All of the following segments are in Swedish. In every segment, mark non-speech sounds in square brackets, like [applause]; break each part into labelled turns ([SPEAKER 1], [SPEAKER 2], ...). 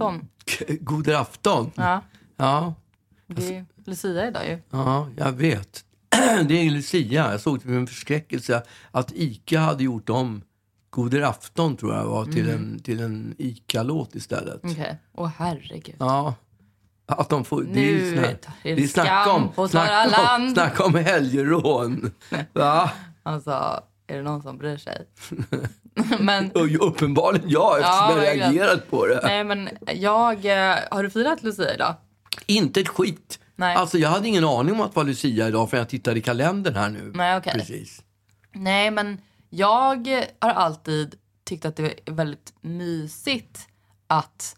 [SPEAKER 1] Mm.
[SPEAKER 2] god afton.
[SPEAKER 1] Ja,
[SPEAKER 2] Ja,
[SPEAKER 1] det är Lucia idag ju.
[SPEAKER 2] ja, jag vet. [clears throat] Det är Lucia. Jag såg till min förskräckelse att ICA hade gjort om God afton tror jag var
[SPEAKER 1] Mm.
[SPEAKER 2] till en, till en ICA-låt istället.
[SPEAKER 1] Okej. Åh herregud.
[SPEAKER 2] Mm. Ja. Att de får, det är ju
[SPEAKER 1] Nu
[SPEAKER 2] sån här-
[SPEAKER 1] tar det
[SPEAKER 2] det är snack
[SPEAKER 1] skam
[SPEAKER 2] om,
[SPEAKER 1] på
[SPEAKER 2] snack
[SPEAKER 1] torra
[SPEAKER 2] om,
[SPEAKER 1] land.
[SPEAKER 2] snack om
[SPEAKER 1] [laughs]
[SPEAKER 2] helgerån. Va?
[SPEAKER 1] Alltså, är det någon som
[SPEAKER 2] [laughs]
[SPEAKER 1] bryr sig? men,
[SPEAKER 2] Och ju- uppenbarligen jag eftersom
[SPEAKER 1] Ja,
[SPEAKER 2] jag
[SPEAKER 1] verkligen.
[SPEAKER 2] reagerat på det.
[SPEAKER 1] nej men jag... eh, Har du firat Lucia idag?
[SPEAKER 2] Inte ett skit.
[SPEAKER 1] Nej.
[SPEAKER 2] Alltså jag hade ingen aning om att det var Lucia idag för jag tittade i kalendern här nu.
[SPEAKER 1] Nej, okej.
[SPEAKER 2] Precis.
[SPEAKER 1] Nej, men jag har alltid tyckt att det är väldigt mysigt att,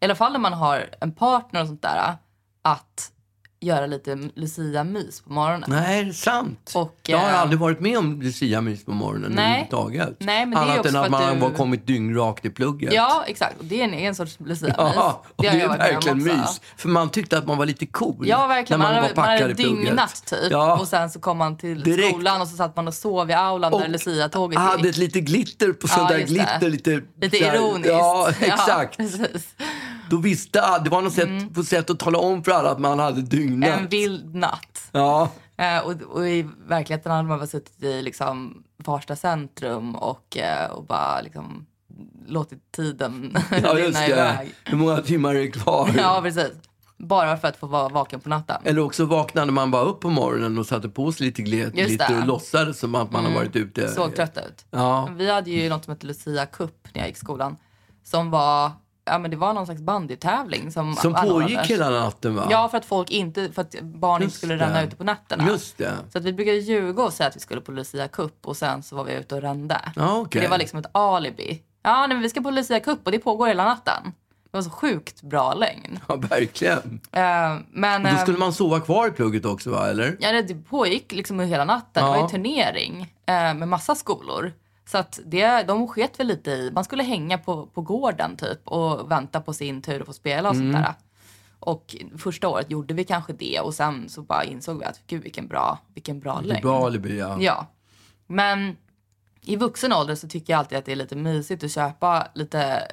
[SPEAKER 1] i alla fall när man har en partner och sånt där, att göra lite Lucia-mys på morgonen.
[SPEAKER 2] Nej, det är sant.
[SPEAKER 1] Och,
[SPEAKER 2] jag har
[SPEAKER 1] eh,
[SPEAKER 2] aldrig varit med om Lucia-mys på morgonen
[SPEAKER 1] Nej.
[SPEAKER 2] överhuvudtaget.
[SPEAKER 1] Nej, men det är
[SPEAKER 2] Annat
[SPEAKER 1] också
[SPEAKER 2] än
[SPEAKER 1] för
[SPEAKER 2] att
[SPEAKER 1] att
[SPEAKER 2] man
[SPEAKER 1] du-
[SPEAKER 2] har kommit dyngrakt i plugget.
[SPEAKER 1] Ja, exakt. Och det är en egen sorts Lucia-mys.
[SPEAKER 2] Ja, och det,
[SPEAKER 1] har jag
[SPEAKER 2] är
[SPEAKER 1] varit med om
[SPEAKER 2] verkligen
[SPEAKER 1] också.
[SPEAKER 2] mys. För man tyckte att man var lite cool.
[SPEAKER 1] Ja, verkligen.
[SPEAKER 2] När
[SPEAKER 1] Man,
[SPEAKER 2] man,
[SPEAKER 1] hade,
[SPEAKER 2] var
[SPEAKER 1] man
[SPEAKER 2] packad
[SPEAKER 1] hade
[SPEAKER 2] i plugget.
[SPEAKER 1] dygnat typ.
[SPEAKER 2] Ja.
[SPEAKER 1] Och sen så kom man till
[SPEAKER 2] Direkt.
[SPEAKER 1] skolan och så satt man och sov i aulan
[SPEAKER 2] Och
[SPEAKER 1] där Lucia-tåget
[SPEAKER 2] hade
[SPEAKER 1] gick.
[SPEAKER 2] ett lite glitter på sånt
[SPEAKER 1] Ja,
[SPEAKER 2] där
[SPEAKER 1] just det.
[SPEAKER 2] glitter. Lite,
[SPEAKER 1] Lite
[SPEAKER 2] så här-
[SPEAKER 1] ironiskt. [laughs]
[SPEAKER 2] Ja, [laughs] exakt.
[SPEAKER 1] precis.
[SPEAKER 2] Då visste alla- det var något sätt, på sätt att tala om för alla att man hade dygnat.
[SPEAKER 1] Mm. En vild natt.
[SPEAKER 2] Ja,
[SPEAKER 1] Eh, och, och i verkligheten hade man bara suttit i liksom Farsta centrum och, eh, och bara liksom låtit tiden
[SPEAKER 2] ja just
[SPEAKER 1] [laughs] rinna
[SPEAKER 2] det.
[SPEAKER 1] iväg.
[SPEAKER 2] Hur många timmar är det
[SPEAKER 1] [laughs]
[SPEAKER 2] kvar?
[SPEAKER 1] Ja, precis. Bara för att få vara vaken på natten.
[SPEAKER 2] Eller också vaknade man bara upp på morgonen och satte på sig lite glet,
[SPEAKER 1] Just
[SPEAKER 2] lite
[SPEAKER 1] det.
[SPEAKER 2] och låtsades som att man har varit ute.
[SPEAKER 1] Såg trött Mm. ut.
[SPEAKER 2] Ja.
[SPEAKER 1] Vi hade ju något som hette Lucia Cup när jag gick i skolan. Som var, ja men det var någon slags bandytävling. Som,
[SPEAKER 2] Som
[SPEAKER 1] alla
[SPEAKER 2] pågick
[SPEAKER 1] ålders.
[SPEAKER 2] hela natten va?
[SPEAKER 1] Ja, för att folk inte, för att barn
[SPEAKER 2] Just
[SPEAKER 1] inte skulle
[SPEAKER 2] det.
[SPEAKER 1] ränna ute på nätterna.
[SPEAKER 2] Just det.
[SPEAKER 1] Så att vi brukade ljuga och säga att vi skulle på Lucia Cup och sen så var vi ute och rände.
[SPEAKER 2] Ja, okej.
[SPEAKER 1] Det var liksom ett alibi. Ja, nej, men vi ska på Lucia Cup och det pågår hela natten. Det var så sjukt bra lögn.
[SPEAKER 2] Ja, verkligen.
[SPEAKER 1] Eh, men
[SPEAKER 2] Då
[SPEAKER 1] eh,
[SPEAKER 2] skulle man sova kvar i plugget också va, eller?
[SPEAKER 1] ja, det- det pågick liksom hela natten.
[SPEAKER 2] Ja.
[SPEAKER 1] Det var ju turnering eh, med massa skolor. Så att det, de sket väl lite i. Man skulle hänga på, på gården typ och vänta på sin tur att få spela och
[SPEAKER 2] Mm.
[SPEAKER 1] sånt där. Och första året gjorde vi kanske det och sen så bara insåg vi att gud vilken bra, vilken bra
[SPEAKER 2] Det är
[SPEAKER 1] lögn.
[SPEAKER 2] bra alibi ja.
[SPEAKER 1] Ja. Men i vuxen ålder så tycker jag alltid att det är lite mysigt att köpa lite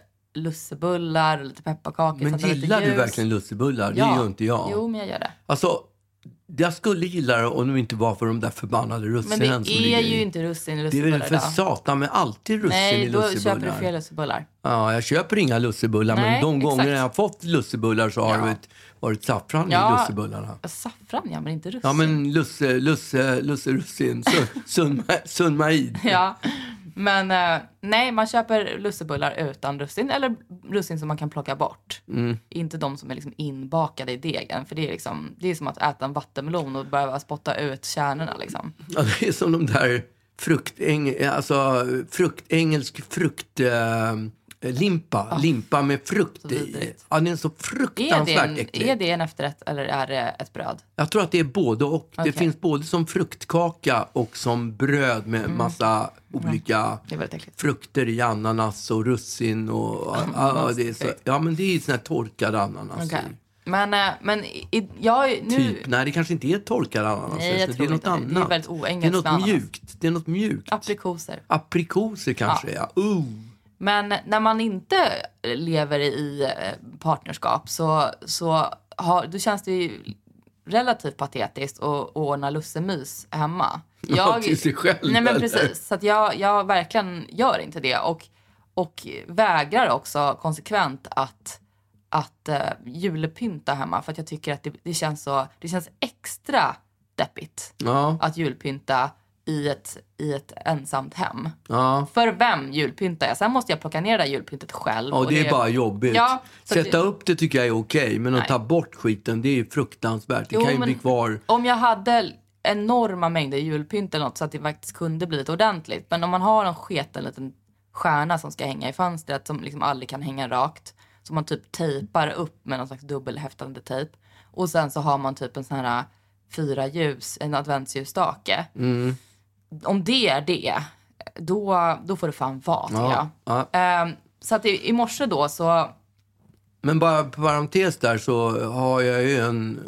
[SPEAKER 1] lussebullar och lite pepparkakor.
[SPEAKER 2] Men
[SPEAKER 1] sätta lite
[SPEAKER 2] gillar du
[SPEAKER 1] ljus.
[SPEAKER 2] verkligen lussebullar? Det gör inte jag.
[SPEAKER 1] Jo, men jag gör det.
[SPEAKER 2] Alltså, jag skulle gilla det om det inte var för de där förbannade
[SPEAKER 1] Men
[SPEAKER 2] russinen
[SPEAKER 1] det
[SPEAKER 2] som ligger
[SPEAKER 1] är
[SPEAKER 2] i.
[SPEAKER 1] ju inte russin i
[SPEAKER 2] Det är
[SPEAKER 1] lussebullar
[SPEAKER 2] väl för
[SPEAKER 1] idag.
[SPEAKER 2] satan med alltid russin i
[SPEAKER 1] Nej, då
[SPEAKER 2] lussebullar.
[SPEAKER 1] köper du fel lussebullar.
[SPEAKER 2] Ja, jag köper inga lussebullar men
[SPEAKER 1] Nej,
[SPEAKER 2] de
[SPEAKER 1] exakt.
[SPEAKER 2] gånger jag har fått lussebullar så har
[SPEAKER 1] Ja.
[SPEAKER 2] det varit, varit saffran i
[SPEAKER 1] Ja.
[SPEAKER 2] lussebullarna.
[SPEAKER 1] Saffran ja, men inte russin.
[SPEAKER 2] Ja men lusse, lusse, lusserussin,
[SPEAKER 1] [laughs]
[SPEAKER 2] Sun- sunma- sunmaid.
[SPEAKER 1] Ja. Men eh, nej, man köper lussebullar utan russin eller russin som man kan plocka bort.
[SPEAKER 2] Mm.
[SPEAKER 1] Inte de som är liksom inbakade i degen. För det är, liksom, det är som att äta en vattenmelon och börja spotta ut kärnorna. Liksom.
[SPEAKER 2] Ja, det är som de där fruktäng, alltså, frukt, engelsk frukt... Eh, limpa, limpa med frukt i.
[SPEAKER 1] vidrigt.
[SPEAKER 2] Ja, det är så
[SPEAKER 1] Är, det
[SPEAKER 2] fruktansvärt
[SPEAKER 1] en,
[SPEAKER 2] äckligt.
[SPEAKER 1] är det en efterrätt eller är det ett bröd?
[SPEAKER 2] Jag tror att det är både och. Det
[SPEAKER 1] Okej.
[SPEAKER 2] finns både som fruktkaka och som bröd med
[SPEAKER 1] Mm.
[SPEAKER 2] massa olika
[SPEAKER 1] Det är väldigt äckligt.
[SPEAKER 2] frukter i ananas och russin och... Ja, det är så, ja men det är sån här torkad ananas. i.
[SPEAKER 1] Okej. Men, eh, men i, i- jag, nu...
[SPEAKER 2] Typ. Nej, det kanske inte är torkad ananas.
[SPEAKER 1] Nej, jag
[SPEAKER 2] förresten.
[SPEAKER 1] tror
[SPEAKER 2] det är något
[SPEAKER 1] inte det. Det är
[SPEAKER 2] annat.
[SPEAKER 1] väldigt oengelskt
[SPEAKER 2] Det är något
[SPEAKER 1] med ananas.
[SPEAKER 2] mjukt. Det är något mjukt.
[SPEAKER 1] Aprikoser.
[SPEAKER 2] Aprikoser kanske, ja. Uh. [laughs]
[SPEAKER 1] Men när man inte lever i eh, partnerskap så, så har, då känns det ju relativt patetiskt att att ordna lussemys hemma.
[SPEAKER 2] Ja, till sig själv,
[SPEAKER 1] Nej men
[SPEAKER 2] eller?
[SPEAKER 1] precis. Så att jag, jag verkligen gör inte det. Och, och vägrar också konsekvent att, att eh, julpynta hemma. För att jag tycker att det, det, känns, så, det känns extra deppigt
[SPEAKER 2] Ja,
[SPEAKER 1] att julpynta i ett, i ett ensamt hem.
[SPEAKER 2] ja.
[SPEAKER 1] För vem julpyntar jag? Sen måste jag plocka ner det där julpyntet själv.
[SPEAKER 2] Ja, det är bara jobbigt.
[SPEAKER 1] Ja, så
[SPEAKER 2] Sätta
[SPEAKER 1] det-
[SPEAKER 2] upp det tycker jag är okej, men att ta bort skiten, det är ju fruktansvärt. Det
[SPEAKER 1] Jo,
[SPEAKER 2] kan ju
[SPEAKER 1] men-
[SPEAKER 2] bli kvar.
[SPEAKER 1] Om jag hade enorma mängder julpynt eller något så att det faktiskt kunde bli lite ordentligt. Men om man har en sketen liten stjärna som ska hänga i fönstret som liksom aldrig kan hänga rakt. Som man typ tejpar upp med någon slags dubbelhäftande tejp. Och sen så har man typ en sån här fyra ljus, en adventsljusstake.
[SPEAKER 2] Mm.
[SPEAKER 1] Om det är det, då, då får det fan vara tycker jag.
[SPEAKER 2] ja.
[SPEAKER 1] Ehm, så att i, i morse då så
[SPEAKER 2] Men bara på parentes där så har jag ju en,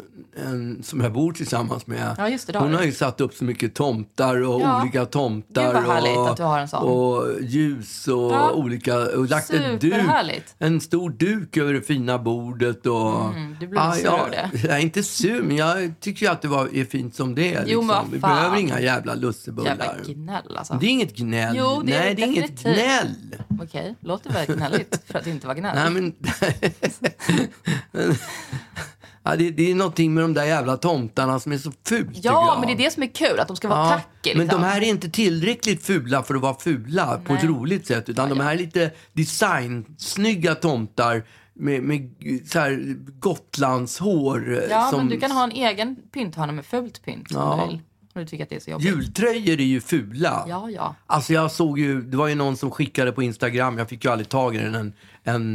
[SPEAKER 2] en som jag bor tillsammans med.
[SPEAKER 1] Ja, just det, det har
[SPEAKER 2] Hon har
[SPEAKER 1] du.
[SPEAKER 2] ju satt upp så mycket tomtar och
[SPEAKER 1] Ja.
[SPEAKER 2] olika tomtar.
[SPEAKER 1] Gud, vad härligt
[SPEAKER 2] och,
[SPEAKER 1] att du har en sån.
[SPEAKER 2] Och ljus och
[SPEAKER 1] Ja.
[SPEAKER 2] olika. Och lagt en duk.
[SPEAKER 1] Superhärligt.
[SPEAKER 2] En stor duk över det fina bordet. Och,
[SPEAKER 1] Mm, du blir väl sur
[SPEAKER 2] jag,
[SPEAKER 1] av det?
[SPEAKER 2] Jag är inte sur, men jag tycker ju att det var, är fint som det är. liksom.
[SPEAKER 1] Jo, men vad
[SPEAKER 2] Vi
[SPEAKER 1] fan.
[SPEAKER 2] behöver inga jävla lussebullar.
[SPEAKER 1] Jävla gnäll alltså.
[SPEAKER 2] det är inget gnäll.
[SPEAKER 1] Jo, det är
[SPEAKER 2] Nej,
[SPEAKER 1] det
[SPEAKER 2] det är inget
[SPEAKER 1] definitivt.
[SPEAKER 2] gnäll.
[SPEAKER 1] Okej, låter väl
[SPEAKER 2] [laughs]
[SPEAKER 1] gnälligt för att inte vara gnäll.
[SPEAKER 2] Nej, men... [laughs] men ja, det, det är någonting med de där jävla tomtarna som är så fult, tycker
[SPEAKER 1] ja,
[SPEAKER 2] jag.
[SPEAKER 1] men det är det som är kul, att de ska vara
[SPEAKER 2] Ja,
[SPEAKER 1] tacky. Liksom.
[SPEAKER 2] Men de här är inte tillräckligt fula för att vara fula på ett
[SPEAKER 1] Nej.
[SPEAKER 2] roligt sätt. Utan de här är lite designsnygga tomtar med, med så här Gotlandshår. eh,
[SPEAKER 1] ja,
[SPEAKER 2] som,
[SPEAKER 1] men du kan ha en egen pynthörna med fult pynt om
[SPEAKER 2] Ja.
[SPEAKER 1] du vill. Om du tycker att det är så jobbigt.
[SPEAKER 2] Jultröjor är ju fula.
[SPEAKER 1] Ja, ja.
[SPEAKER 2] Alltså jag såg ju, det var ju någon som skickade på Instagram, jag fick ju aldrig tag i den, en,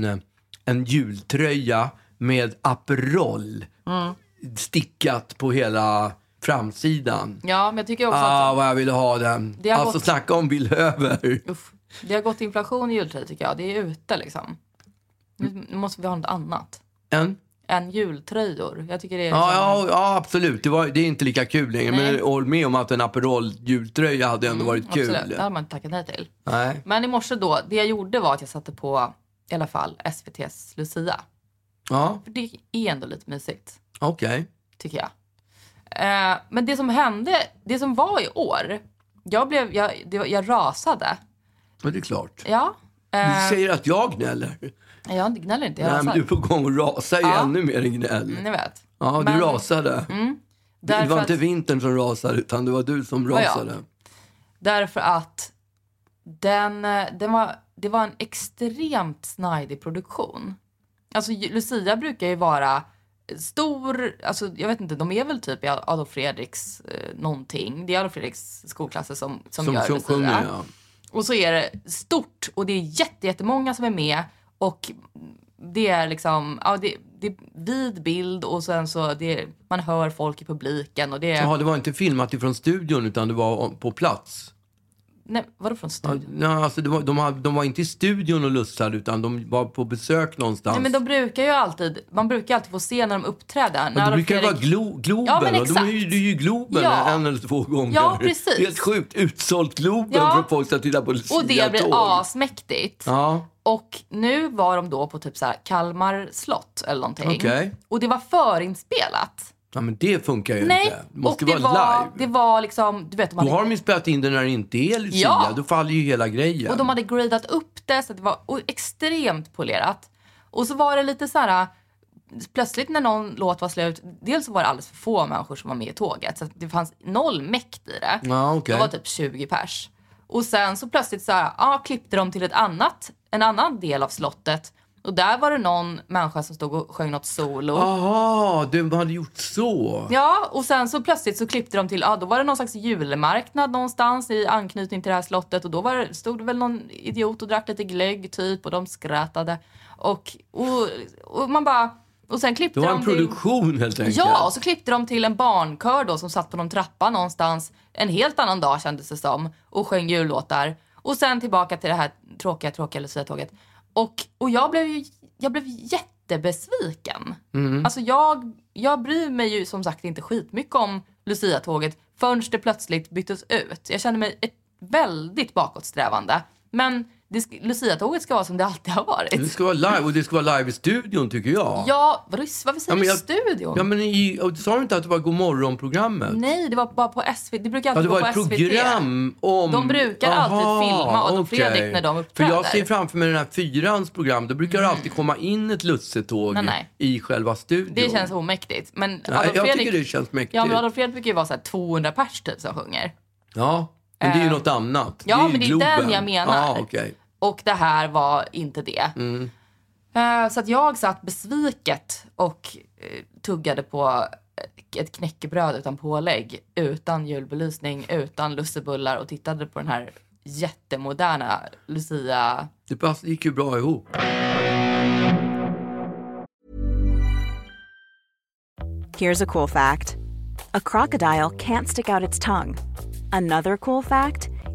[SPEAKER 2] en, en jultröja med Aperol
[SPEAKER 1] Mm.
[SPEAKER 2] stickat på hela framsidan.
[SPEAKER 1] Ja, men jag tycker också
[SPEAKER 2] Ah,
[SPEAKER 1] att
[SPEAKER 2] vad jag ville ha den.
[SPEAKER 1] Det har
[SPEAKER 2] Alltså
[SPEAKER 1] gått-
[SPEAKER 2] snacka om vill över.
[SPEAKER 1] uff, det har gått inflation i jultröjor tycker jag. Det är ute liksom. Nu nu måste vi ha något annat
[SPEAKER 2] En?
[SPEAKER 1] än jultröjor. Jag tycker det är
[SPEAKER 2] Ja,
[SPEAKER 1] liksom,
[SPEAKER 2] ja, ja absolut. Det, var, det är inte lika kul längre. Men
[SPEAKER 1] Nej. Mm,
[SPEAKER 2] håll med om att en Aperol jultröja hade ändå varit kul.
[SPEAKER 1] Absolut, det hade man inte tackat nej till.
[SPEAKER 2] Nej.
[SPEAKER 1] Men i morse då, det jag gjorde var att jag satte på i alla fall SVT's Lucia.
[SPEAKER 2] Ja,
[SPEAKER 1] För det är ändå lite mysigt.
[SPEAKER 2] okej.
[SPEAKER 1] tycker jag. Eh, men det som hände, det som var i år, jag, blev, jag, det, var- jag rasade.
[SPEAKER 2] Men det är klart.
[SPEAKER 1] Ja. Eh,
[SPEAKER 2] Du säger att jag gnäller.
[SPEAKER 1] jag gnäller inte, jag
[SPEAKER 2] Nej, men
[SPEAKER 1] rasar.
[SPEAKER 2] du är på gång att rasa ju
[SPEAKER 1] Ja.
[SPEAKER 2] ännu mer än gnäll.
[SPEAKER 1] Ni vet.
[SPEAKER 2] Ja, du
[SPEAKER 1] Men- mm,
[SPEAKER 2] rasade. det
[SPEAKER 1] Därför
[SPEAKER 2] var inte
[SPEAKER 1] att,
[SPEAKER 2] vintern som rasade, utan det var du som
[SPEAKER 1] jag?
[SPEAKER 2] rasade.
[SPEAKER 1] därför att den, eh, den var, det var en extremt snajdig produktion. Alltså ju- Lucia brukar ju vara stor, alltså jag vet inte, de är väl typ i Adolf Fredriks eh, någonting. Det är Adolf Fredriks skolklasser som, som,
[SPEAKER 2] Som,
[SPEAKER 1] gör
[SPEAKER 2] som
[SPEAKER 1] Lucia.
[SPEAKER 2] sjunger, ja.
[SPEAKER 1] Och så är det stort och det är jätte, jättemånga som är med och det är liksom, ja det, det är vid bild och sen så det, man hör folk i publiken och det är,
[SPEAKER 2] Jaha, det var inte filmat ifrån studion, utan det var på plats.
[SPEAKER 1] nej vadå från
[SPEAKER 2] Ja,
[SPEAKER 1] studion?
[SPEAKER 2] nej, alltså det var, de, hade- de var inte i studion och lussade, utan de var på besök någonstans.
[SPEAKER 1] Nej men de brukar ju alltid, man brukar ju alltid få se när de uppträder. När
[SPEAKER 2] Men det
[SPEAKER 1] Adolf
[SPEAKER 2] brukar ju vara
[SPEAKER 1] Fredrik-
[SPEAKER 2] glo, Globen.
[SPEAKER 1] Ja, men
[SPEAKER 2] va? de är
[SPEAKER 1] exakt.
[SPEAKER 2] ju, det är ju Globen
[SPEAKER 1] Ja.
[SPEAKER 2] en eller två gånger.
[SPEAKER 1] Ja, precis.
[SPEAKER 2] Helt sjukt utsålt Globen
[SPEAKER 1] Ja.
[SPEAKER 2] för att folk ska titta på
[SPEAKER 1] och det blir
[SPEAKER 2] Lucia-tåg.
[SPEAKER 1] asmäktigt.
[SPEAKER 2] Ja,
[SPEAKER 1] Och nu var de då på typ så här Kalmar slott eller någonting.
[SPEAKER 2] Okej.
[SPEAKER 1] Och det var förinspelat.
[SPEAKER 2] ja, men det funkar ju
[SPEAKER 1] Nej,
[SPEAKER 2] inte. Det måste
[SPEAKER 1] och det
[SPEAKER 2] vara
[SPEAKER 1] var,
[SPEAKER 2] live.
[SPEAKER 1] det var liksom, du vet de
[SPEAKER 2] Då
[SPEAKER 1] hade
[SPEAKER 2] har de ju spelat in den när det inte är Lucia.
[SPEAKER 1] Ja.
[SPEAKER 2] Då faller ju hela grejen.
[SPEAKER 1] Och de hade gradat upp det så att det var o- extremt polerat. Och så var det lite så här plötsligt när någon låt var slut, dels så var det alldeles för få människor som var med i tåget så att det fanns noll mäkt i det.
[SPEAKER 2] Ja, okej.
[SPEAKER 1] Det var typ 20 pers. Och sen så plötsligt så här, ja, klippte de till ett annat, en annan del av slottet och där var det någon människa som stod och sjöng något solo.
[SPEAKER 2] Jaha, de hade gjort så.
[SPEAKER 1] Ja, och sen så plötsligt så klippte de till, ja då var det någon slags julmarknad någonstans i anknytning till det här slottet och då var det, stod det väl någon idiot och drack lite glögg typ och de skrattade. Och, och, och man bara, och sen klippte
[SPEAKER 2] Det var
[SPEAKER 1] de
[SPEAKER 2] en
[SPEAKER 1] till...
[SPEAKER 2] produktion helt enkelt.
[SPEAKER 1] Ja, och så klippte de till en barnkör då som satt på någon trappa någonstans en helt annan dag kändes det som och sjöng jullåtar. Och sen tillbaka till det här tråkiga, tråkiga Lucia-tåget. Och, och jag blev ju jag blev jättebesviken.
[SPEAKER 2] Mm.
[SPEAKER 1] Alltså jag, jag bryr mig ju som sagt inte skitmycket om Lucia-tåget förrän det plötsligt byttes ut. Jag kände mig ett, väldigt bakåtsträvande. Men det, sk- Lucia-tåget ska vara som det alltid har
[SPEAKER 2] Det
[SPEAKER 1] varit.
[SPEAKER 2] ska vara live och det ska vara live i studion tycker jag.
[SPEAKER 1] Ja, vadå, varför säger
[SPEAKER 2] men
[SPEAKER 1] du
[SPEAKER 2] jag-
[SPEAKER 1] studion?
[SPEAKER 2] Ja, men i, och sa du inte att det var Godmorgon-programmet?
[SPEAKER 1] Nej, det var bara på SVT. Det brukar
[SPEAKER 2] Ja,
[SPEAKER 1] alltid
[SPEAKER 2] det var
[SPEAKER 1] vara
[SPEAKER 2] ett
[SPEAKER 1] på SVT.
[SPEAKER 2] program om...
[SPEAKER 1] De brukar alltid filma Adolf
[SPEAKER 2] okej.
[SPEAKER 1] Fredrik när de uppträder.
[SPEAKER 2] För
[SPEAKER 1] Mm.
[SPEAKER 2] jag ser framför mig den här fyrans program. Då brukar det alltid komma in ett lussetåg
[SPEAKER 1] Nej, nej.
[SPEAKER 2] i själva studion.
[SPEAKER 1] Det känns omäktigt. Men
[SPEAKER 2] Nej,
[SPEAKER 1] Adolf
[SPEAKER 2] jag
[SPEAKER 1] Fredrik,
[SPEAKER 2] tycker det känns mäktigt.
[SPEAKER 1] ja, men Adolf Fredrik brukar ju vara så här 200 pers typ som sjunger.
[SPEAKER 2] Ja, men det är ju något annat.
[SPEAKER 1] Eh, ja,
[SPEAKER 2] det är ju
[SPEAKER 1] men det är
[SPEAKER 2] Globen.
[SPEAKER 1] den jag menar.
[SPEAKER 2] Ja, okej. Mm.
[SPEAKER 1] Och det här var inte det. Eh, Så att jag satt besviket och eh, tuggade på eh, ett knäckebröd utan pålägg, utan julbelysning, utan lussebullar och tittade på den här jättemoderna Lucia...
[SPEAKER 2] Det pass, gick ju bra ihop.
[SPEAKER 3] Here's a cool fact a crocodile can't stick out its tongue. Another cool fact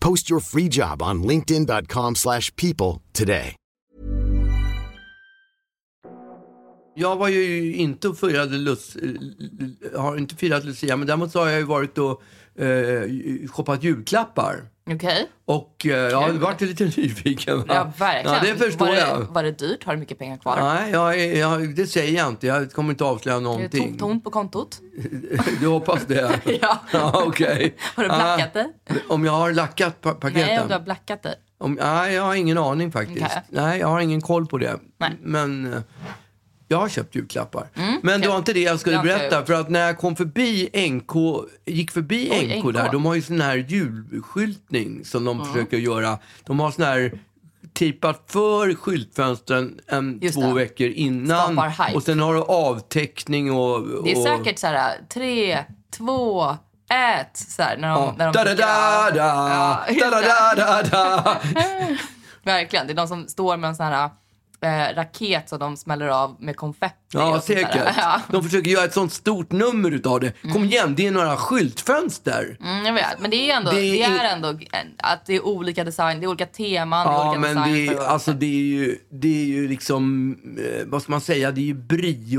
[SPEAKER 4] Post your free job on linkedin.com/people slash people today.
[SPEAKER 2] Jag var ju inte och firade Lus, har inte firat Lucia, men däremot så har jag ju varit och eh, shoppat julklappar.
[SPEAKER 1] Okej.
[SPEAKER 2] Och eh, jag har varit lite [laughs] nyfiken. Va?
[SPEAKER 1] Ja, verkligen.
[SPEAKER 2] Ja, det förstår
[SPEAKER 1] var,
[SPEAKER 2] jag.
[SPEAKER 1] Det, var det dyrt? Har du mycket pengar kvar? Eh,
[SPEAKER 2] Nej, jag, är- jag, det säger jag inte. Jag kommer inte avslöja
[SPEAKER 1] Är det
[SPEAKER 2] någonting.
[SPEAKER 1] tomt, tomt på kontot?
[SPEAKER 2] [laughs]
[SPEAKER 1] [laughs]
[SPEAKER 2] Du hoppas det?
[SPEAKER 1] Ja.
[SPEAKER 2] ja Okej.
[SPEAKER 1] [laughs]
[SPEAKER 2] Ah.
[SPEAKER 1] Har du blackat dig?
[SPEAKER 2] Om jag har lackat pa- paketen?
[SPEAKER 1] Nej, om du har blackat dig.
[SPEAKER 2] Om, nej, jag har ingen aning faktiskt.
[SPEAKER 1] Okej.
[SPEAKER 2] Nej, jag har ingen koll på det.
[SPEAKER 1] Nej. Mm,
[SPEAKER 2] Men eh, jag har köpt julklappar. Men det var inte det jag skulle
[SPEAKER 1] Det har inte jag
[SPEAKER 2] berätta.
[SPEAKER 1] gjort.
[SPEAKER 2] För att när jag kom förbi NK, gick förbi
[SPEAKER 1] Oj,
[SPEAKER 2] NK, där,
[SPEAKER 1] NK.
[SPEAKER 2] de har ju sån här julskyltning som de försöker göra. De har sån här tejpat för skyltfönstren en,
[SPEAKER 1] Just
[SPEAKER 2] två
[SPEAKER 1] det.
[SPEAKER 2] veckor innan.
[SPEAKER 1] Skapar hype.
[SPEAKER 2] Och sen har du avteckning och...
[SPEAKER 1] Det är
[SPEAKER 2] och,
[SPEAKER 1] säkert så här tre, två, ett. Så här, när de,
[SPEAKER 2] Ja.
[SPEAKER 1] när de
[SPEAKER 2] Da, da, da, da,
[SPEAKER 1] Ja, just
[SPEAKER 2] da, da,
[SPEAKER 1] det.
[SPEAKER 2] da, da, da.
[SPEAKER 1] Verkligen. Det är de som står med en sån här eh, raket som de smäller av med konfetti.
[SPEAKER 2] Ja,
[SPEAKER 1] och sånt där. [laughs]
[SPEAKER 2] säkert.
[SPEAKER 1] Ja.
[SPEAKER 2] De försöker göra ett sånt stort nummer utav det. Kom igen, det är några skyltfönster.
[SPEAKER 1] Mm, jag vet. Men det är ändå,
[SPEAKER 2] Det
[SPEAKER 1] det
[SPEAKER 2] är
[SPEAKER 1] är
[SPEAKER 2] in-
[SPEAKER 1] ändå en- att det är olika design, det är olika teman, det är
[SPEAKER 2] Ja,
[SPEAKER 1] olika
[SPEAKER 2] men det
[SPEAKER 1] design.
[SPEAKER 2] är,
[SPEAKER 1] för-
[SPEAKER 2] alltså, det, är ju, det är ju liksom, eh, vad ska man säga, det är ju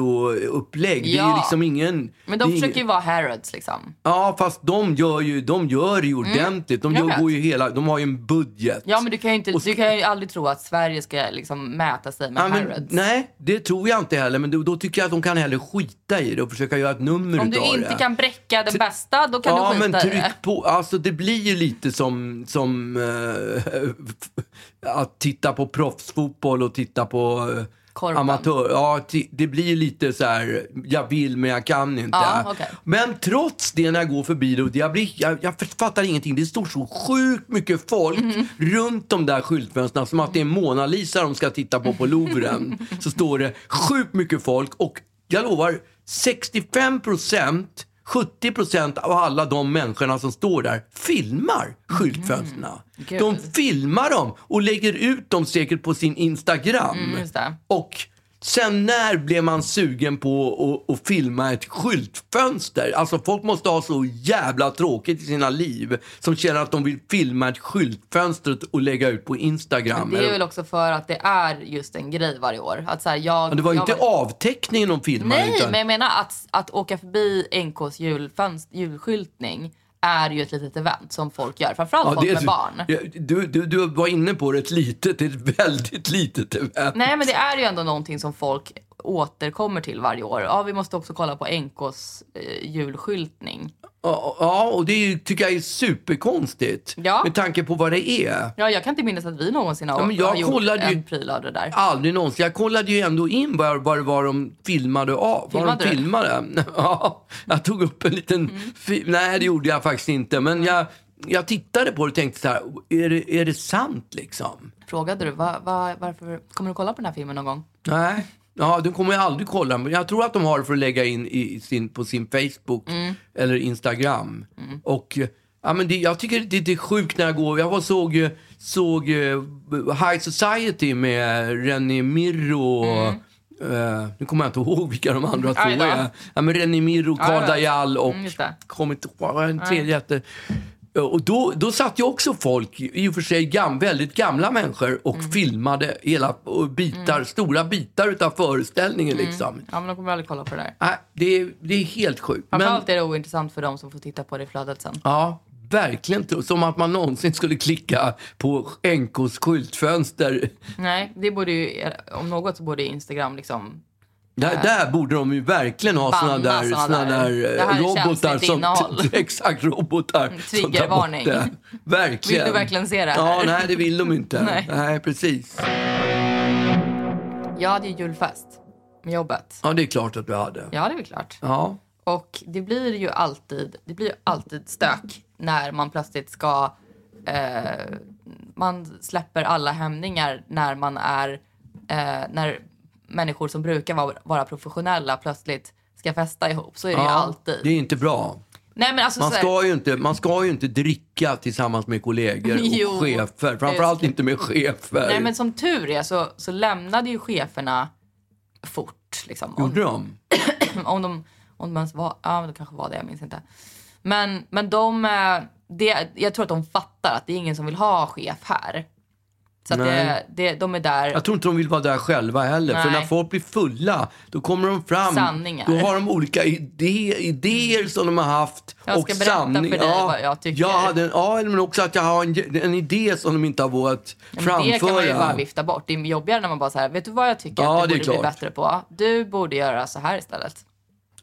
[SPEAKER 2] brio-upplägg. Det är ju
[SPEAKER 1] Ja.
[SPEAKER 2] liksom ingen...
[SPEAKER 1] men
[SPEAKER 2] det
[SPEAKER 1] de
[SPEAKER 2] är
[SPEAKER 1] försöker
[SPEAKER 2] ingen-
[SPEAKER 1] ju vara Harrods liksom.
[SPEAKER 2] Ja, fast de gör ju, de gör ju ordentligt. De
[SPEAKER 1] Mm. jag
[SPEAKER 2] gör,
[SPEAKER 1] vet.
[SPEAKER 2] går ju hela, de har ju en budget.
[SPEAKER 1] Ja, men du kan ju, inte,
[SPEAKER 2] Och
[SPEAKER 1] du kan ju aldrig tro att Sverige ska liksom mäta sig med
[SPEAKER 2] Ja, men,
[SPEAKER 1] Harrods.
[SPEAKER 2] nej, det tror jag inte heller. Men då, då tycker jag att de kan heller skita i det och försöka göra ett nummer
[SPEAKER 1] Om du
[SPEAKER 2] utav
[SPEAKER 1] inte
[SPEAKER 2] det.
[SPEAKER 1] kan bräcka den bästa, då kan
[SPEAKER 2] ja,
[SPEAKER 1] du skita
[SPEAKER 2] men
[SPEAKER 1] i det.
[SPEAKER 2] tryck på. Alltså det blir ju lite som, som eh, [laughs] att titta på proffsfotboll och titta på eh,
[SPEAKER 1] Korpen.
[SPEAKER 2] amatör. Ja, ti- det blir ju lite så här, jag vill men jag kan inte.
[SPEAKER 1] Ja, okej.
[SPEAKER 2] Men trots det när jag går förbi det, och jag, blir, jag, jag fattar ingenting. Det står så sjukt mycket folk runt de där skyltfönstren som att det är Mona Lisa de ska titta på på Louvren. Så står det sjukt mycket folk och jag lovar 65 procent 70 procent av alla de människorna som står där filmar skyltfönstren. De
[SPEAKER 1] Gud.
[SPEAKER 2] filmar dem och lägger ut dem säkert på sin Instagram.
[SPEAKER 1] Just det.
[SPEAKER 2] Och sen när blev man sugen på att, att filma ett skyltfönster? Alltså folk måste ha så jävla tråkigt i sina liv som känner att de vill filma ett skyltfönster och lägga ut på Instagram.
[SPEAKER 1] Det är väl också för att det är just en grej varje år. Att så här, jag,
[SPEAKER 2] Men det var ju
[SPEAKER 1] jag
[SPEAKER 2] inte avteckningen de filmade.
[SPEAKER 1] Nej,
[SPEAKER 2] utan...
[SPEAKER 1] men jag menar att, att åka förbi NKs julfönst, julskyltning är ju ett litet event som folk gör. Framförallt
[SPEAKER 2] Ja,
[SPEAKER 1] folk
[SPEAKER 2] det är-
[SPEAKER 1] med barn.
[SPEAKER 2] Du, du, du var inne på det, ett litet, ett väldigt litet event.
[SPEAKER 1] Nej, men det är ju ändå någonting som folk återkommer till varje år. Ja, vi måste också kolla på NKs eh, julskyltning.
[SPEAKER 2] Ja, ja, och det är, ju- tycker jag är superkonstigt
[SPEAKER 1] Ja.
[SPEAKER 2] med tanke på vad det är.
[SPEAKER 1] Ja, jag kan inte minnas att vi någonsin har,
[SPEAKER 2] Ja, men jag
[SPEAKER 1] har gjort
[SPEAKER 2] kollade ju-
[SPEAKER 1] en pryl av det där.
[SPEAKER 2] Aldrig någonsin. Jag kollade ju ändå in vad, vad det var de filmade av. vad
[SPEAKER 1] Filmade
[SPEAKER 2] de
[SPEAKER 1] du?
[SPEAKER 2] filmade. [laughs] Ja, jag tog upp en liten fi- Nej, det gjorde jag faktiskt inte. Men jag, jag tittade på det och tänkte så här, är det, är det sant liksom?
[SPEAKER 1] Frågade du va, va, varför kommer du kolla på den här filmen någon gång?
[SPEAKER 2] Nej. Ja, de kommer jag aldrig kolla. Men jag tror att de har det för att lägga in i sin, på sin Facebook eller Instagram. Och eh, ja, men det, jag tycker det, det är sjukt när jag går. Jag var, såg, eh, såg eh, High Society med René Mirro och eh, nu kommer jag inte ihåg vilka de andra två
[SPEAKER 1] Aj då.
[SPEAKER 2] är. Ja, men René Mirro, Karl
[SPEAKER 1] ja.
[SPEAKER 2] Dajal och
[SPEAKER 1] Mm, just det.
[SPEAKER 2] kommer inte ihåg, vad en tredje hette. Och då, då satt ju också folk, i och för sig gam, väldigt gamla människor, och
[SPEAKER 1] Mm.
[SPEAKER 2] filmade hela och bitar, stora bitar utav föreställningen.
[SPEAKER 1] Mm.
[SPEAKER 2] Liksom.
[SPEAKER 1] Ja, men de kommer aldrig kolla på det där.
[SPEAKER 2] Nej, det, är, det är helt sjukt. Men,
[SPEAKER 1] Framförallt är det ointressant för de som får titta på det i flödet sen.
[SPEAKER 2] ja, verkligen inte. Som att man någonsin skulle klicka på NKs skyltfönster.
[SPEAKER 1] eh, Nej, det borde ju, om något så borde Instagram liksom
[SPEAKER 2] Där, där borde de ju verkligen ha såna
[SPEAKER 1] Banna
[SPEAKER 2] där,
[SPEAKER 1] såna
[SPEAKER 2] såna
[SPEAKER 1] där.
[SPEAKER 2] där, eh,
[SPEAKER 1] Det här är
[SPEAKER 2] robotar
[SPEAKER 1] känsligt
[SPEAKER 2] som... [laughs]
[SPEAKER 1] innehåll. Mm,
[SPEAKER 2] Exakt, robotar. som tar bort
[SPEAKER 1] triggervarning.
[SPEAKER 2] det. Verkligen.
[SPEAKER 1] Vill du verkligen se det här?
[SPEAKER 2] Ja, nej det vill de inte.
[SPEAKER 1] [laughs] Nej.
[SPEAKER 2] nej. precis.
[SPEAKER 1] Jag hade ju julfest med jobbet.
[SPEAKER 2] Ja, det är klart att du hade.
[SPEAKER 1] Ja, det är väl klart.
[SPEAKER 2] Ja.
[SPEAKER 1] Och det blir ju alltid, det blir ju alltid stök när man plötsligt ska... Eh, man släpper alla hämningar när man är... Eh, när människor som brukar vara, vara professionella plötsligt ska festa ihop. Så är det ju alltid.
[SPEAKER 2] det är inte bra.
[SPEAKER 1] Nej, men alltså,
[SPEAKER 2] Man
[SPEAKER 1] så här-
[SPEAKER 2] ska, ju inte, man ska ju inte dricka tillsammans med kollegor och
[SPEAKER 1] [laughs] Jo,
[SPEAKER 2] chefer. Framförallt
[SPEAKER 1] det-
[SPEAKER 2] inte med chefer.
[SPEAKER 1] Nej men som tur är så, så lämnade ju cheferna fort. Liksom, om,
[SPEAKER 2] Gjorde de?
[SPEAKER 1] om de, om de ens var, ja det kanske var det, jag minns inte. Men, men de, eh, det, jag tror att de fattar att det är ingen som vill ha chef här. Så att det,
[SPEAKER 2] Nej.
[SPEAKER 1] det, de är där.
[SPEAKER 2] Jag tror inte de vill vara där själva heller. För
[SPEAKER 1] Nej.
[SPEAKER 2] när folk blir fulla, då kommer de fram.
[SPEAKER 1] Sanningar.
[SPEAKER 2] Då har de olika idé, idéer som de har haft.
[SPEAKER 1] Jag
[SPEAKER 2] och
[SPEAKER 1] ska berätta
[SPEAKER 2] sanning-
[SPEAKER 1] för dig
[SPEAKER 2] ja,
[SPEAKER 1] vad jag tycker.
[SPEAKER 2] Jag hade en, ja, men också att jag har en, en idé som de inte har vågat
[SPEAKER 1] Men
[SPEAKER 2] framföra.
[SPEAKER 1] Det kan man ju bara vifta bort. Det är jobbigare när man bara så här, vet du vad jag tycker
[SPEAKER 2] Ja,
[SPEAKER 1] att
[SPEAKER 2] det är
[SPEAKER 1] du borde bli
[SPEAKER 2] klart.
[SPEAKER 1] bättre på? Du borde göra så här istället.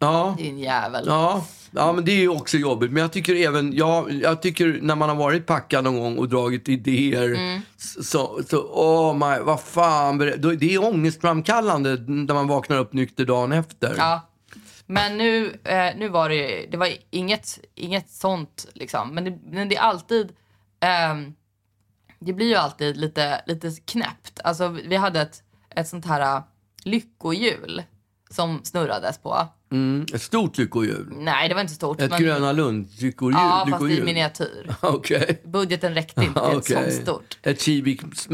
[SPEAKER 2] ja.
[SPEAKER 1] Din jävel.
[SPEAKER 2] Ja, ja, men det är ju också jobbigt. Men jag tycker även, ja, jag tycker när man har varit packad någon gång och dragit idéer,
[SPEAKER 1] Mm.
[SPEAKER 2] så, så, oh my, vad fan, ber- då- det är ångestframkallande när man vaknar upp nykter dagen efter.
[SPEAKER 1] Ja. Men nu, eh, nu var det ju- det var inget, inget sånt liksom. Men det, men det är alltid, ehm, det blir ju alltid lite, lite knäppt. Alltså vi hade ett, ett sånt här eh, lyckohjul som snurrades på.
[SPEAKER 2] Mm, ett stort lyckohjul.
[SPEAKER 1] Nej det var inte stort.
[SPEAKER 2] Ett
[SPEAKER 1] men,
[SPEAKER 2] Gröna Lund-lyckohjul.
[SPEAKER 1] Ja fast i
[SPEAKER 2] lyckohjul.
[SPEAKER 1] miniatyr.
[SPEAKER 2] [laughs] Okej.
[SPEAKER 1] Budgeten
[SPEAKER 2] [laughs]
[SPEAKER 1] räckte inte till ett
[SPEAKER 2] Okej.
[SPEAKER 1] sånt stort. Mm.
[SPEAKER 2] Ett Kiviks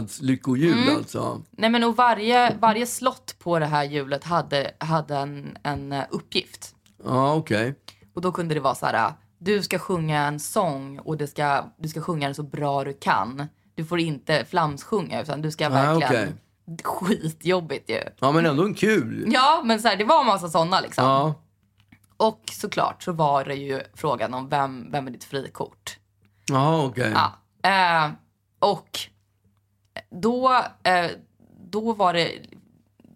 [SPEAKER 2] marknadslyckohjul alltså.
[SPEAKER 1] Nej men och varje, varje slott på det här hjulet hade, hade en, en eh, uppgift.
[SPEAKER 2] Ja, okej.
[SPEAKER 1] Och då kunde det vara så här, äh, du ska sjunga en sång och det ska, du ska sjunga den så bra du kan. Du får inte flamsjunga utan du ska verkligen... Skitjobbigt ju.
[SPEAKER 2] Ja, men ändå en kul.
[SPEAKER 1] Ja, men så här, det var en massa sådana liksom.
[SPEAKER 2] Ja.
[SPEAKER 1] Och såklart så var det ju frågan om vem, vem är ditt frikort?
[SPEAKER 2] Ja, okej.
[SPEAKER 1] Ja. Eh, och då, eh, då var det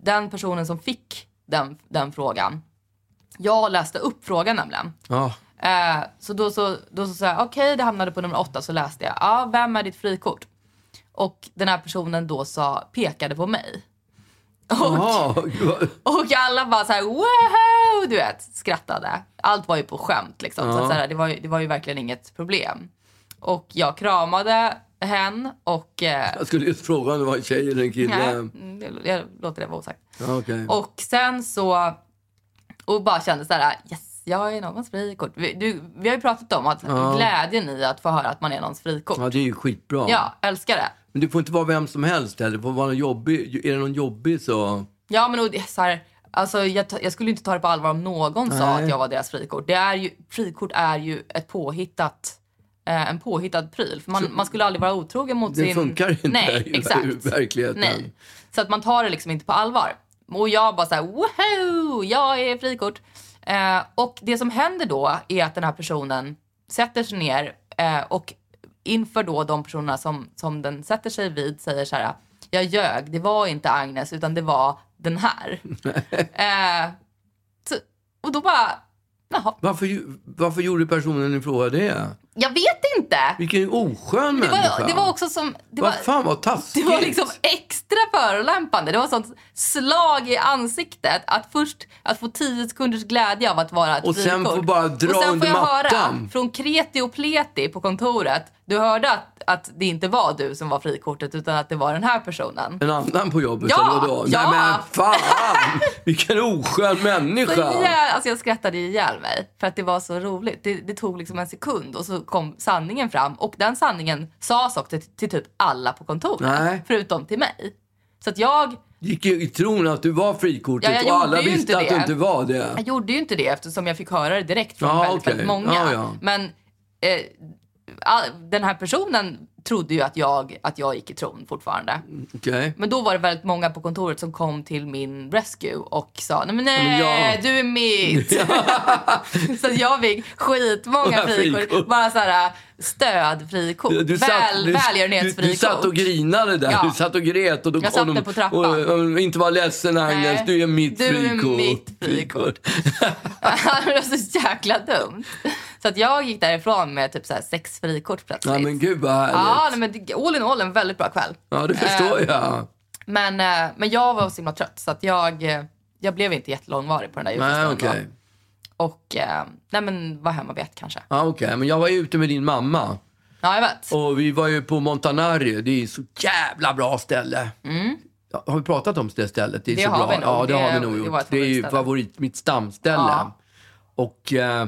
[SPEAKER 1] den personen som fick den, den frågan. Jag läste upp frågan nämligen.
[SPEAKER 2] Ja.
[SPEAKER 1] Eh, så då så, då så sa jag, okej det hamnade på nummer åtta, så läste jag, ah, vem är ditt frikort? Och den här personen då sa, pekade på mig.
[SPEAKER 2] Ja, vad-
[SPEAKER 1] Och alla bara så här, wow, du vet, skrattade. Allt var ju på skämt liksom. Så, att så här, det, var ju, det var ju verkligen inget problem. Och jag kramade hen och... Eh,
[SPEAKER 2] [laughs] jag skulle just fråga om det var en tjej eller en
[SPEAKER 1] nej,
[SPEAKER 2] kille.
[SPEAKER 1] det- [laughs] jag låter det vara osagt.
[SPEAKER 2] Ja, okej.
[SPEAKER 1] Och sen så... Och bara kände så här, yes, jag är någons frikort. Vi, du, vi har ju pratat om att glädjen i att få höra att man är någons frikort.
[SPEAKER 2] Ja, det är ju skitbra.
[SPEAKER 1] Ja, älskar det.
[SPEAKER 2] Men det får inte vara vem som helst heller. Det får vara någon jobbig. Är det någon jobbig så...
[SPEAKER 1] Ja, men och det är så här, alltså, jag, ta- jag skulle inte ta det på allvar om någon sa
[SPEAKER 2] Nej.
[SPEAKER 1] att jag var deras frikort. Det är ju, frikort är ju ett påhittat, eh, en påhittad pryl. För man, man skulle aldrig vara otrogen mot
[SPEAKER 2] Det
[SPEAKER 1] sin...
[SPEAKER 2] funkar inte
[SPEAKER 1] Nej,
[SPEAKER 2] i
[SPEAKER 1] exakt.
[SPEAKER 2] verkligheten.
[SPEAKER 1] Nej. Så att man tar det liksom inte på allvar. Och jag bara så här, woho, jag är frikort. Eh, och det som händer då är att den här personen sätter sig ner eh, och inför då de personerna som, som den sätter sig vid säger så här, jag ljög, det var inte Agnes utan det var den
[SPEAKER 2] [laughs]
[SPEAKER 1] här. eh, så, och då bara, jaha,
[SPEAKER 2] Varför, ju- varför gjorde personen i fråga det?
[SPEAKER 1] jag vet inte.
[SPEAKER 2] Vilken oskön
[SPEAKER 1] Det
[SPEAKER 2] människa.
[SPEAKER 1] var, det var också som... Det
[SPEAKER 2] Vad
[SPEAKER 1] var,
[SPEAKER 2] fan vad taskigt.
[SPEAKER 1] Det var liksom extra förolämpande. Det var sånt slag i ansiktet att först att få 10 sekunders glädje av att vara ett
[SPEAKER 2] Och sen
[SPEAKER 1] frikort.
[SPEAKER 2] få bara dra
[SPEAKER 1] Och sen
[SPEAKER 2] under
[SPEAKER 1] får jag höra
[SPEAKER 2] mattan.
[SPEAKER 1] från kreti och pleti på kontoret. Du hörde att, att det inte var du som var frikortet utan att det var den här personen.
[SPEAKER 2] En annan på jobbet
[SPEAKER 1] Ja,
[SPEAKER 2] eller vadå?
[SPEAKER 1] ja.
[SPEAKER 2] Nej men fan! Vilken oskön
[SPEAKER 1] Så
[SPEAKER 2] människa.
[SPEAKER 1] jävla, alltså jag skrattade ihjäl mig för att det var så roligt. Det, det tog liksom en sekund och så kom sanningen fram och den sanningen sades också till, till typ alla på kontoret.
[SPEAKER 2] Nej.
[SPEAKER 1] Förutom till mig. Så att jag
[SPEAKER 2] Gick ju i tron att du var frikortet
[SPEAKER 1] Ja, jag
[SPEAKER 2] och
[SPEAKER 1] gjorde
[SPEAKER 2] alla
[SPEAKER 1] ju
[SPEAKER 2] visste
[SPEAKER 1] inte
[SPEAKER 2] att
[SPEAKER 1] det.
[SPEAKER 2] du inte var det.
[SPEAKER 1] Jag gjorde ju inte det eftersom jag fick höra det direkt från
[SPEAKER 2] Ja,
[SPEAKER 1] väldigt,
[SPEAKER 2] okej.
[SPEAKER 1] väldigt många.
[SPEAKER 2] Ja, ja.
[SPEAKER 1] Men eh, all, den här personen trodde ju att jag, att jag gick i tron fortfarande.
[SPEAKER 2] Mm. Okej.
[SPEAKER 1] Men då var det väldigt många på kontoret som kom till min rescue och sa nej, men nej
[SPEAKER 2] Ja.
[SPEAKER 1] du
[SPEAKER 2] [laughs]
[SPEAKER 1] är mitt. [laughs] så att jag fick skitmånga frikort.
[SPEAKER 2] Frikort.
[SPEAKER 1] Bara så här stödfrikort.
[SPEAKER 2] Du satt,
[SPEAKER 1] Väl,
[SPEAKER 2] du, du,
[SPEAKER 1] välgörenhetsfrikort.
[SPEAKER 2] du satt
[SPEAKER 1] [laughs]
[SPEAKER 2] och grinade där.
[SPEAKER 1] Ja.
[SPEAKER 2] Du satt och grät. Och då kom
[SPEAKER 1] Jag satt
[SPEAKER 2] de,
[SPEAKER 1] där på trappan.
[SPEAKER 2] Och, och, inte var ledsen Agnes,
[SPEAKER 1] Nej,
[SPEAKER 2] du är mitt
[SPEAKER 1] du är
[SPEAKER 2] frikort.
[SPEAKER 1] mitt frikort. det var så jäkla dumt. Så att jag gick därifrån med typ så här sex frikort
[SPEAKER 2] [laughs]
[SPEAKER 1] plötsligt.
[SPEAKER 2] Ja men gud vad härligt.
[SPEAKER 1] Ja,
[SPEAKER 2] Ja,
[SPEAKER 1] nej, Eh. men det- all in all en väldigt bra kväll.
[SPEAKER 2] det förstår jag.
[SPEAKER 1] Men, eh, men jag var så himla trött så att jag, eh, jag blev inte jättelångvarig på den där
[SPEAKER 2] Nej
[SPEAKER 1] julfesten.
[SPEAKER 2] okej.
[SPEAKER 1] då. Och eh, nej, men var hemma vid ett kanske.
[SPEAKER 2] Ja, okej. Men jag var ju ute med din mamma.
[SPEAKER 1] Ja, jag vet.
[SPEAKER 2] Och vi var ju på Montanari. Det är så jävla bra ställe. Ja, Har vi pratat om det stället? Det är
[SPEAKER 1] Mm. Det
[SPEAKER 2] så
[SPEAKER 1] har
[SPEAKER 2] bra.
[SPEAKER 1] vi nog.
[SPEAKER 2] Ja, det,
[SPEAKER 1] Det-
[SPEAKER 2] har vi nog
[SPEAKER 1] det
[SPEAKER 2] gjort.
[SPEAKER 1] var
[SPEAKER 2] Det,
[SPEAKER 1] ett
[SPEAKER 2] är ju
[SPEAKER 1] favoritställe.
[SPEAKER 2] favorit, mitt stamställe.
[SPEAKER 1] Ja.
[SPEAKER 2] Och eh,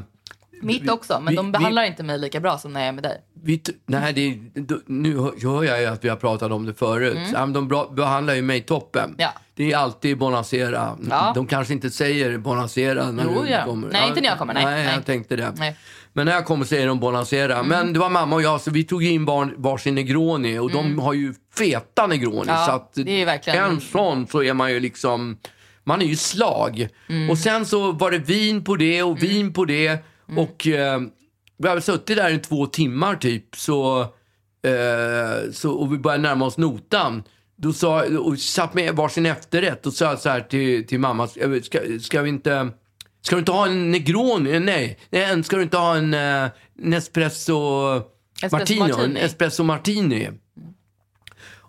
[SPEAKER 1] Mitt också, men
[SPEAKER 2] vi-
[SPEAKER 1] de
[SPEAKER 2] vi-
[SPEAKER 1] behandlar inte mig lika bra som när jag är med dig.
[SPEAKER 2] vi, t- nej, det, är- d- nu hör- hör jag ju att vi har pratat om det förut. Ja, men de bra, behandlar ju mig toppen.
[SPEAKER 1] Mm. Ja.
[SPEAKER 2] Det är alltid Bonacera.
[SPEAKER 1] Ja.
[SPEAKER 2] De kanske inte säger Bonacera när
[SPEAKER 1] Jo,
[SPEAKER 2] du
[SPEAKER 1] gör de.
[SPEAKER 2] kommer.
[SPEAKER 1] Nej, inte när jag kommer. Nej,
[SPEAKER 2] nej,
[SPEAKER 1] nej.
[SPEAKER 2] jag tänkte det.
[SPEAKER 1] Nej. Mm.
[SPEAKER 2] Men när jag kommer säger de Bonacera. Men det var mamma och jag, så vi tog in barn, varsin Negroni och
[SPEAKER 1] Mm.
[SPEAKER 2] de har ju feta Negroni.
[SPEAKER 1] Ja,
[SPEAKER 2] så att
[SPEAKER 1] det är ju verkligen-
[SPEAKER 2] En sån så är man ju liksom, man är ju slag.
[SPEAKER 1] Mm.
[SPEAKER 2] Och sen så var det vin på det och vin på det.
[SPEAKER 1] Mm.
[SPEAKER 2] Och eh, vi har väl suttit där i två timmar typ. Så, eh, så, och vi började närma oss notan. Då sa, och satt med varsin efterrätt och sa så här till, till mamma, ska, ska, ska vi inte... Ska du inte ha en Negroni? Eh, Nej. Nej, en- ska du inte ha en eh, Nespresso
[SPEAKER 1] Espresso
[SPEAKER 2] Martino? En
[SPEAKER 1] Martini.
[SPEAKER 2] Espresso Martini.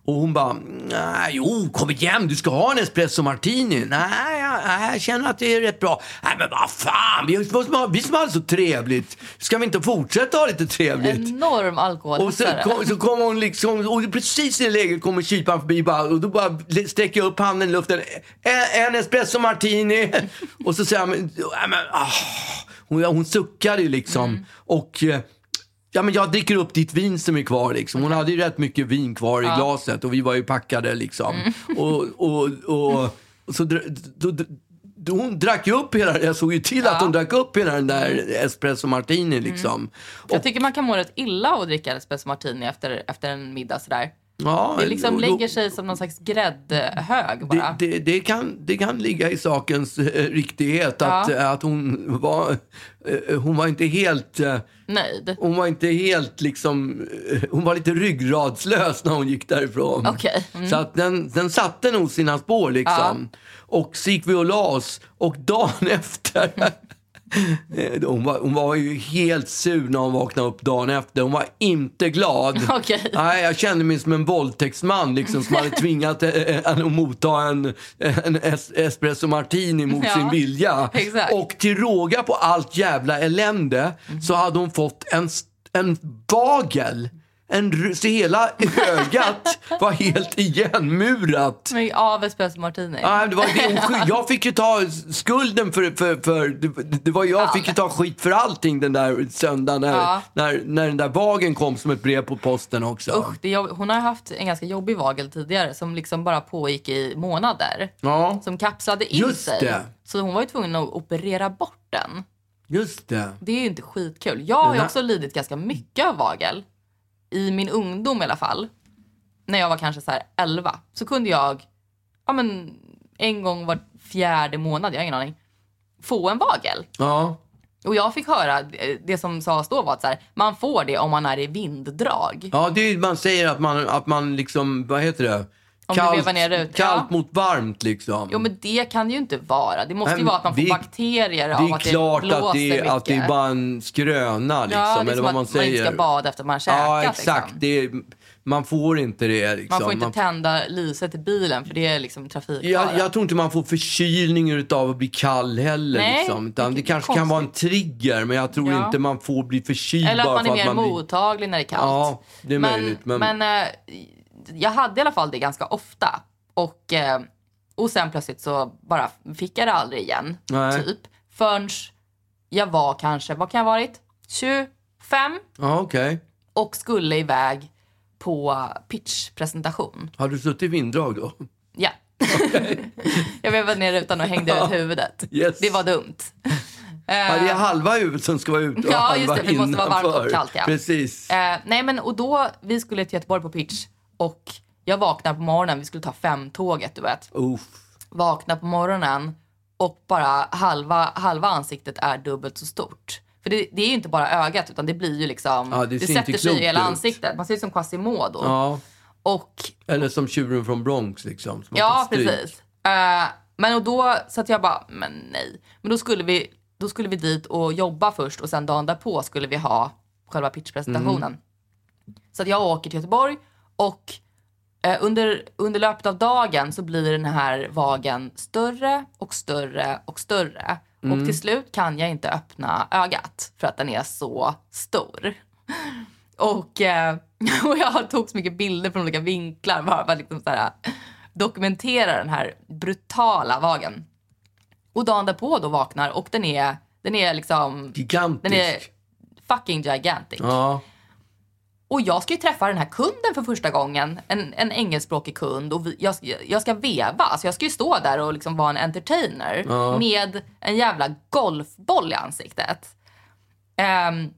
[SPEAKER 2] Och hon bara, nej, jo, kom igen, du ska ha en espresso martini. Nej, jag, nej, jag känner att det är rätt bra. Nej, men vad fan, vi, som har- vi som hade så trevligt, ska vi inte fortsätta ha lite trevligt?
[SPEAKER 1] Enorm
[SPEAKER 2] Och så
[SPEAKER 1] alkoholhassare.
[SPEAKER 2] kom, så kom hon liksom, och precis i det läget kommer kyparen förbi bara, och då bara sträcker jag upp handen i luften. En, en espresso martini. [laughs] och så säger jag, men, ja, men ah. hon, hon suckar ju liksom.
[SPEAKER 1] Mm.
[SPEAKER 2] Och eh, ja, men jag dricker upp ditt vin som är kvar liksom. Hon hade ju rätt mycket vin kvar i glaset och vi var ju packade liksom.
[SPEAKER 1] Mm. [laughs]
[SPEAKER 2] Och, och, och, och så dr- då, då, då, hon drack ju upp hela, jag såg ju till att hon drack upp hela den där espresso martini liksom.
[SPEAKER 1] Mm.
[SPEAKER 2] Och,
[SPEAKER 1] Jag tycker man kan må rätt illa av att dricka en espresso martini efter, efter en middag sådär.
[SPEAKER 2] ja,
[SPEAKER 1] Det liksom
[SPEAKER 2] och då-
[SPEAKER 1] lägger sig som någon slags gräddhög bara.
[SPEAKER 2] Det, det, det, kan, det kan ligga i sakens eh, riktighet att,
[SPEAKER 1] Ja.
[SPEAKER 2] eh, att hon var, eh, hon var inte helt, eh,
[SPEAKER 1] Nöjd.
[SPEAKER 2] hon var inte helt liksom, eh, hon var lite ryggradslös när hon gick därifrån.
[SPEAKER 1] Okej. Mm.
[SPEAKER 2] Så att den, den satte nog sina spår liksom. Och så gick vi och la oss och dagen [laughs] efter eh, Hon var, hon var ju helt sur när hon vaknade upp dagen efter. Hon var inte glad.
[SPEAKER 1] Okej.
[SPEAKER 2] Nej, jag kände mig som en våldtäktsman liksom, som hade tvingat eh, eh, att motta en, en es, espresso martini mot
[SPEAKER 1] Ja,
[SPEAKER 2] sin vilja.
[SPEAKER 1] exakt.
[SPEAKER 2] Och till råga på allt jävla elände så hade hon fått en, st- en bagel. En, ru- så hela
[SPEAKER 1] [laughs]
[SPEAKER 2] ögat var helt igenmurat.
[SPEAKER 1] Men av espresso martini.
[SPEAKER 2] Nej, det var din
[SPEAKER 1] [laughs]
[SPEAKER 2] skuld. Jag fick ju ta skulden för, för, för det, det var jag fick ju ta skit för allting den där söndagen när,
[SPEAKER 1] Ja.
[SPEAKER 2] när, när den där bagen kom som ett brev på posten också.
[SPEAKER 1] Usch, det är jobb... Hon har haft en ganska jobbig vagel tidigare som liksom bara pågick i månader.
[SPEAKER 2] Ja,
[SPEAKER 1] Som kapslade in
[SPEAKER 2] Just
[SPEAKER 1] sig.
[SPEAKER 2] det.
[SPEAKER 1] Så hon var ju tvungen att operera bort den.
[SPEAKER 2] just det.
[SPEAKER 1] Det är ju inte skitkul. Jag har ju
[SPEAKER 2] Nej.
[SPEAKER 1] också lidit ganska mycket av vagel. I min ungdom i alla fall. När jag var kanske så här 11. Så kunde jag ja, men, en gång var fjärde månad, jag har ingen aning, få en vagel.
[SPEAKER 2] Ja.
[SPEAKER 1] Och jag fick höra, eh, det som sades då var att så här, man får det om man är i vinddrag.
[SPEAKER 2] Ja, det är, man säger att man, att man liksom, vad heter det?
[SPEAKER 1] Om du vevar ner det ut,
[SPEAKER 2] kallt
[SPEAKER 1] ja.
[SPEAKER 2] mot varmt liksom.
[SPEAKER 1] Jo men det kan det ju inte vara. Det måste ju
[SPEAKER 2] Nej,
[SPEAKER 1] vara att man får
[SPEAKER 2] det-
[SPEAKER 1] bakterier
[SPEAKER 2] det
[SPEAKER 1] av
[SPEAKER 2] är
[SPEAKER 1] att
[SPEAKER 2] klart
[SPEAKER 1] det blåser
[SPEAKER 2] att, det är,
[SPEAKER 1] mycket.
[SPEAKER 2] att det är bara en skröna liksom.
[SPEAKER 1] ja, det är
[SPEAKER 2] eller
[SPEAKER 1] som
[SPEAKER 2] vad
[SPEAKER 1] att
[SPEAKER 2] man
[SPEAKER 1] man,
[SPEAKER 2] säger.
[SPEAKER 1] inte ska bada efter man har käkat.
[SPEAKER 2] ja, exakt.
[SPEAKER 1] Liksom.
[SPEAKER 2] Det är, man får inte det liksom.
[SPEAKER 1] Man får inte tända lyset i bilen för det är liksom trafikfara.
[SPEAKER 2] jag, jag tror inte man får förkylning utav att bli kall heller.
[SPEAKER 1] Nej,
[SPEAKER 2] liksom. Utan det
[SPEAKER 1] vilket
[SPEAKER 2] kanske kan vara en trigger, men jag tror
[SPEAKER 1] Ja.
[SPEAKER 2] inte man får bli förkyld
[SPEAKER 1] Eller att
[SPEAKER 2] bara
[SPEAKER 1] man
[SPEAKER 2] för
[SPEAKER 1] är
[SPEAKER 2] att
[SPEAKER 1] mer
[SPEAKER 2] man blir...
[SPEAKER 1] mottaglig när det är kallt.
[SPEAKER 2] Ja, det är möjligt, men-
[SPEAKER 1] eh, jag hade i alla fall det ganska ofta. Och, eh, och sen plötsligt så bara fick jag det aldrig igen.
[SPEAKER 2] Nej.
[SPEAKER 1] Typ. Förrän jag var kanske, vad kan jag ha varit? 25
[SPEAKER 2] Ja, okej.
[SPEAKER 1] och skulle iväg på pitchpresentation.
[SPEAKER 2] Har du suttit i vinddrag då?
[SPEAKER 1] Ja. [laughs] jag vevade ner rutan och hängde ut huvudet.
[SPEAKER 2] Yes.
[SPEAKER 1] Det var dumt.
[SPEAKER 2] ja, det är halva huvudet som ska vara ute och
[SPEAKER 1] Eh. Ja,
[SPEAKER 2] halva
[SPEAKER 1] just det, för det måste vara varmt och
[SPEAKER 2] innanför.
[SPEAKER 1] kallt, ja.
[SPEAKER 2] Precis.
[SPEAKER 1] Eh, nej men och då, vi skulle till Göteborg på pitch och jag vaknade på morgonen, vi skulle ta femtåget du vet.
[SPEAKER 2] Uff.
[SPEAKER 1] Vaknar på morgonen och bara halva, halva ansiktet är dubbelt så stort. För det, det är ju inte bara ögat utan det blir ju liksom,
[SPEAKER 2] Ja, det ser inte
[SPEAKER 1] sätter sig i
[SPEAKER 2] klokt
[SPEAKER 1] hela
[SPEAKER 2] ut.
[SPEAKER 1] ansiktet. Man ser ut som Quasimodo.
[SPEAKER 2] Ja,
[SPEAKER 1] Och
[SPEAKER 2] eller som tjuren från Bronx liksom. som har
[SPEAKER 1] Ja,
[SPEAKER 2] fått stryk.
[SPEAKER 1] precis. Eh, men och då så att jag bara, men nej. Men då skulle vi, då skulle vi dit och jobba först och sen dagen därpå skulle vi ha själva pitchpresentationen. Så att jag åker till Göteborg och eh, under, under löpet av dagen så blir den här vagen större och större och större. Och till slut kan jag inte öppna ögat för att den är så stor. [laughs] Och, eh, [laughs] och jag tog så mycket bilder från olika vinklar bara för att liksom så här, dokumentera den här brutala vagen. Och dagen därpå då vaknar och den är, den är liksom,
[SPEAKER 2] Gigantisk.
[SPEAKER 1] den är fucking gigantic.
[SPEAKER 2] Ja,
[SPEAKER 1] Och jag ska ju träffa den här kunden för första gången, en, en engelskspråkig kund och vi, jag, jag ska veva, alltså jag ska ju stå där och liksom vara en entertainer med en jävla golfboll i ansiktet. Ehm,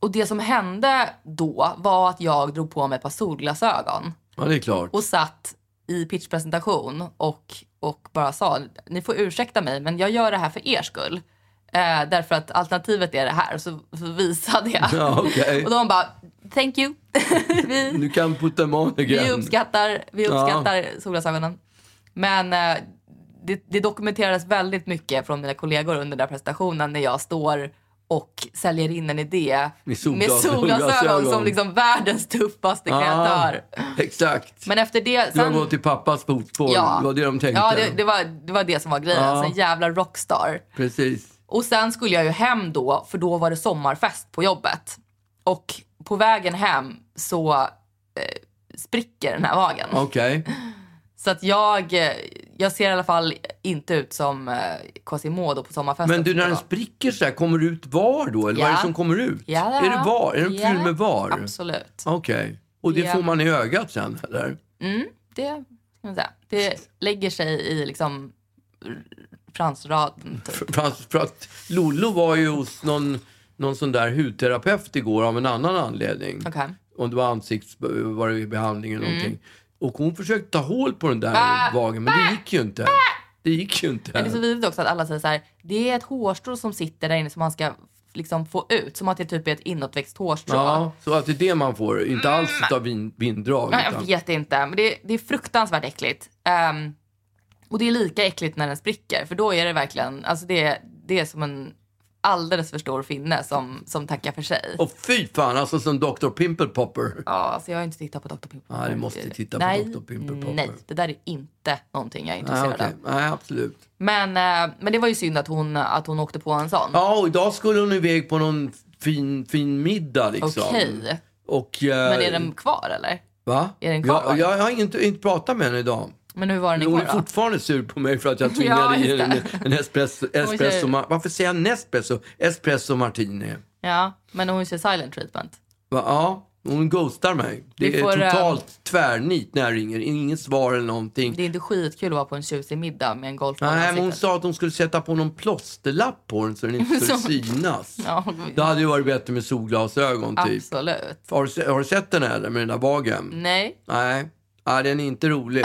[SPEAKER 1] och det som hände då var att jag drog på mig ett par solglasögon
[SPEAKER 2] ja, det är klart.
[SPEAKER 1] och satt i pitchpresentation och, och bara sa ni får ursäkta mig men jag gör det här för er skull. Eh, därför att alternativet är det här. Så, så visade jag.
[SPEAKER 2] Ja, okej.
[SPEAKER 1] Och de bara thank you. [laughs] vi,
[SPEAKER 2] Du kan putta dem on
[SPEAKER 1] vi
[SPEAKER 2] again.
[SPEAKER 1] uppskattar, vi uppskattar solglasögonen. Men eh, det, det dokumenterades väldigt mycket från mina kollegor under den där presentationen när jag står och säljer in en idé
[SPEAKER 2] Med solglas-
[SPEAKER 1] med solglasögon
[SPEAKER 2] solglasögon.
[SPEAKER 1] som liksom världens tuffaste
[SPEAKER 2] Ja,
[SPEAKER 1] kreatör.
[SPEAKER 2] Ah, exakt.
[SPEAKER 1] Men efter det...
[SPEAKER 2] Du har
[SPEAKER 1] Sen,
[SPEAKER 2] gått i pappas fotspår. Det var det de tänkte.
[SPEAKER 1] Ja, det, det, var, det var det som var grejen.
[SPEAKER 2] Ja.
[SPEAKER 1] Alltså en jävla rockstar.
[SPEAKER 2] Precis.
[SPEAKER 1] Och sen skulle jag ju hem då, för då var det sommarfest på jobbet. Och på vägen hem så eh, spricker den här vagen.
[SPEAKER 2] Okej.
[SPEAKER 1] Så att jag, eh, jag ser i alla fall inte ut som eh, Quasimodo på sommarfesten.
[SPEAKER 2] Men du, när den
[SPEAKER 1] Ja.
[SPEAKER 2] spricker så här, kommer det ut var då? Eller vad är
[SPEAKER 1] Ja.
[SPEAKER 2] det som kommer ut?
[SPEAKER 1] Ja, ja,
[SPEAKER 2] Är det var? Är den
[SPEAKER 1] ja.
[SPEAKER 2] fylld med var?
[SPEAKER 1] Absolut.
[SPEAKER 2] Okej. Och det
[SPEAKER 1] Ja.
[SPEAKER 2] får man i ögat sen, eller?
[SPEAKER 1] Det, ska man säga. det lägger sig i liksom r- fransraden typ.
[SPEAKER 2] För att, för att Lollo var ju hos någon, någon sån där hudterapeut igår av en annan anledning.
[SPEAKER 1] Okej. Mm.
[SPEAKER 2] Om det var ansiktsbehandling eller någonting. Och hon försökte ta hål på den där vagen, men det gick ju inte. Det gick ju inte.
[SPEAKER 1] Men det är så vidrigt också att alla säger så här, det är ett hårstrå som sitter där inne som man ska liksom få ut. Som att det typ är ett inåtväxt hårstrå.
[SPEAKER 2] Ja, så att det är det man får. Inte alls
[SPEAKER 1] Mm.
[SPEAKER 2] utav vin, vindrag.
[SPEAKER 1] Ja, jag
[SPEAKER 2] utan-
[SPEAKER 1] vet inte, men det, det är fruktansvärt äckligt. Ehm, och det är lika äckligt när den spricker, för då är det verkligen, alltså det, är- det är som en alldeles för stor finne som, som tackar för sig.
[SPEAKER 2] Och fy fan, alltså som Dr. Pimple Popper.
[SPEAKER 1] Ja, alltså jag har inte tittat på Dr. Pimple Popper.
[SPEAKER 2] Ja, du måste titta på
[SPEAKER 1] nej,
[SPEAKER 2] Dr. Pimple Popper.
[SPEAKER 1] Nej, det där är inte någonting jag är
[SPEAKER 2] Nej,
[SPEAKER 1] intresserad
[SPEAKER 2] okej.
[SPEAKER 1] av.
[SPEAKER 2] Nej, absolut.
[SPEAKER 1] Men, eh, men det var ju synd att hon, att hon åkte på en sån.
[SPEAKER 2] Ja, och idag skulle hon iväg på någon fin, fin middag liksom.
[SPEAKER 1] Okej,
[SPEAKER 2] Och... eh,
[SPEAKER 1] men är den kvar eller?
[SPEAKER 2] Va?
[SPEAKER 1] är den kvar, va?
[SPEAKER 2] jag, jag har inte, inte pratat med henne idag.
[SPEAKER 1] Men hur var den
[SPEAKER 2] Hon
[SPEAKER 1] igår
[SPEAKER 2] är
[SPEAKER 1] då?
[SPEAKER 2] fortfarande sur på mig för att
[SPEAKER 1] [laughs]
[SPEAKER 2] jag tvingade
[SPEAKER 1] just
[SPEAKER 2] i henne en espresso. espresso
[SPEAKER 1] säger-
[SPEAKER 2] ma- varför säger jag Nespresso? Espresso martini.
[SPEAKER 1] Ja, men hon kör silent treatment.
[SPEAKER 2] Va? Ja, hon ghostar mig. Det
[SPEAKER 1] Vi
[SPEAKER 2] är
[SPEAKER 1] får, eh,
[SPEAKER 2] totalt tvärnit när jag ringer. Inget svar eller någonting.
[SPEAKER 1] Det är inte skitkul att vara på en tjusig middag med en golfboll i
[SPEAKER 2] Nej, men hon
[SPEAKER 1] ansiktet.
[SPEAKER 2] sa att hon skulle sätta på någon plåsterlapp på den så den
[SPEAKER 1] [laughs]
[SPEAKER 2] inte skulle
[SPEAKER 1] Som-
[SPEAKER 2] synas.
[SPEAKER 1] [laughs] Ja,
[SPEAKER 2] Det hade ju varit bättre med solglasögon typ.
[SPEAKER 1] absolut.
[SPEAKER 2] Har du, se- har du sett den här eller, med den där vagen?
[SPEAKER 1] Nej, [laughs]
[SPEAKER 2] Nej. Nej, den är inte rolig.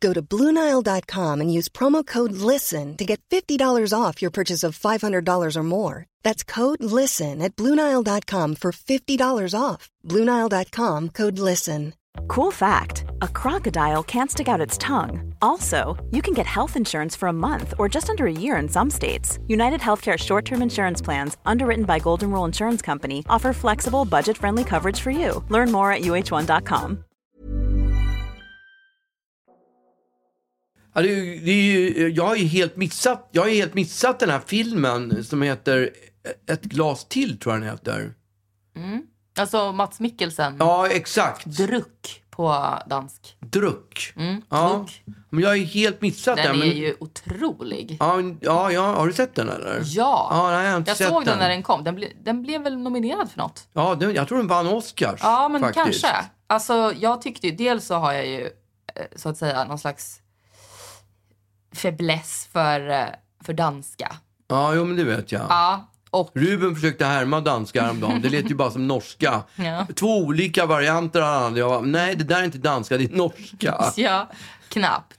[SPEAKER 5] Go to BlueNile.com and use promo code LISTEN to get $50 off your purchase of $500 or more. That's code LISTEN at BlueNile.com for $50 off. BlueNile.com code LISTEN.
[SPEAKER 3] Cool fact a crocodile can't stick out its tongue. Also, you can get health insurance for a month or just under a year in some states. United Healthcare short term insurance plans, underwritten by Golden Rule Insurance Company, offer flexible, budget friendly coverage for you. Learn more at uh1.com.
[SPEAKER 2] Ja, det är, ju- det är ju, jag har ju helt missat, jag har ju helt missat den
[SPEAKER 1] Mm.
[SPEAKER 2] här filmen som heter Ett glas till, tror jag den heter.
[SPEAKER 1] Alltså Mats Mikkelsen.
[SPEAKER 2] Ja, exakt.
[SPEAKER 1] Druck på dansk.
[SPEAKER 2] Druck. ja.
[SPEAKER 1] druck.
[SPEAKER 2] Men jag har ju helt missat
[SPEAKER 1] Den
[SPEAKER 2] den.
[SPEAKER 1] är
[SPEAKER 2] men...
[SPEAKER 1] ju otrolig.
[SPEAKER 2] ja, men- ja, ja, har du sett den eller?
[SPEAKER 1] Ja.
[SPEAKER 2] Ja, nej, jag har inte
[SPEAKER 1] jag
[SPEAKER 2] sett
[SPEAKER 1] såg den
[SPEAKER 2] den.
[SPEAKER 1] när den kom. Den, ble, den blev väl nominerad för något?
[SPEAKER 2] Ja, den, jag tror den vann Oscars.
[SPEAKER 1] Ja, men
[SPEAKER 2] faktiskt.
[SPEAKER 1] kanske. Alltså, jag tyckte ju, dels så har jag ju eh, så att säga någon slags fäbless för, eh, för danska.
[SPEAKER 2] Ja, jo, men det vet jag.
[SPEAKER 1] Ja, och
[SPEAKER 2] Ruben försökte härma danska häromdagen. Det lät ju bara som norska.
[SPEAKER 1] [laughs] Ja.
[SPEAKER 2] Två olika varianter han hade. Jag bara, nej, det där är inte danska, det är norska.
[SPEAKER 1] [laughs] ja, knappt.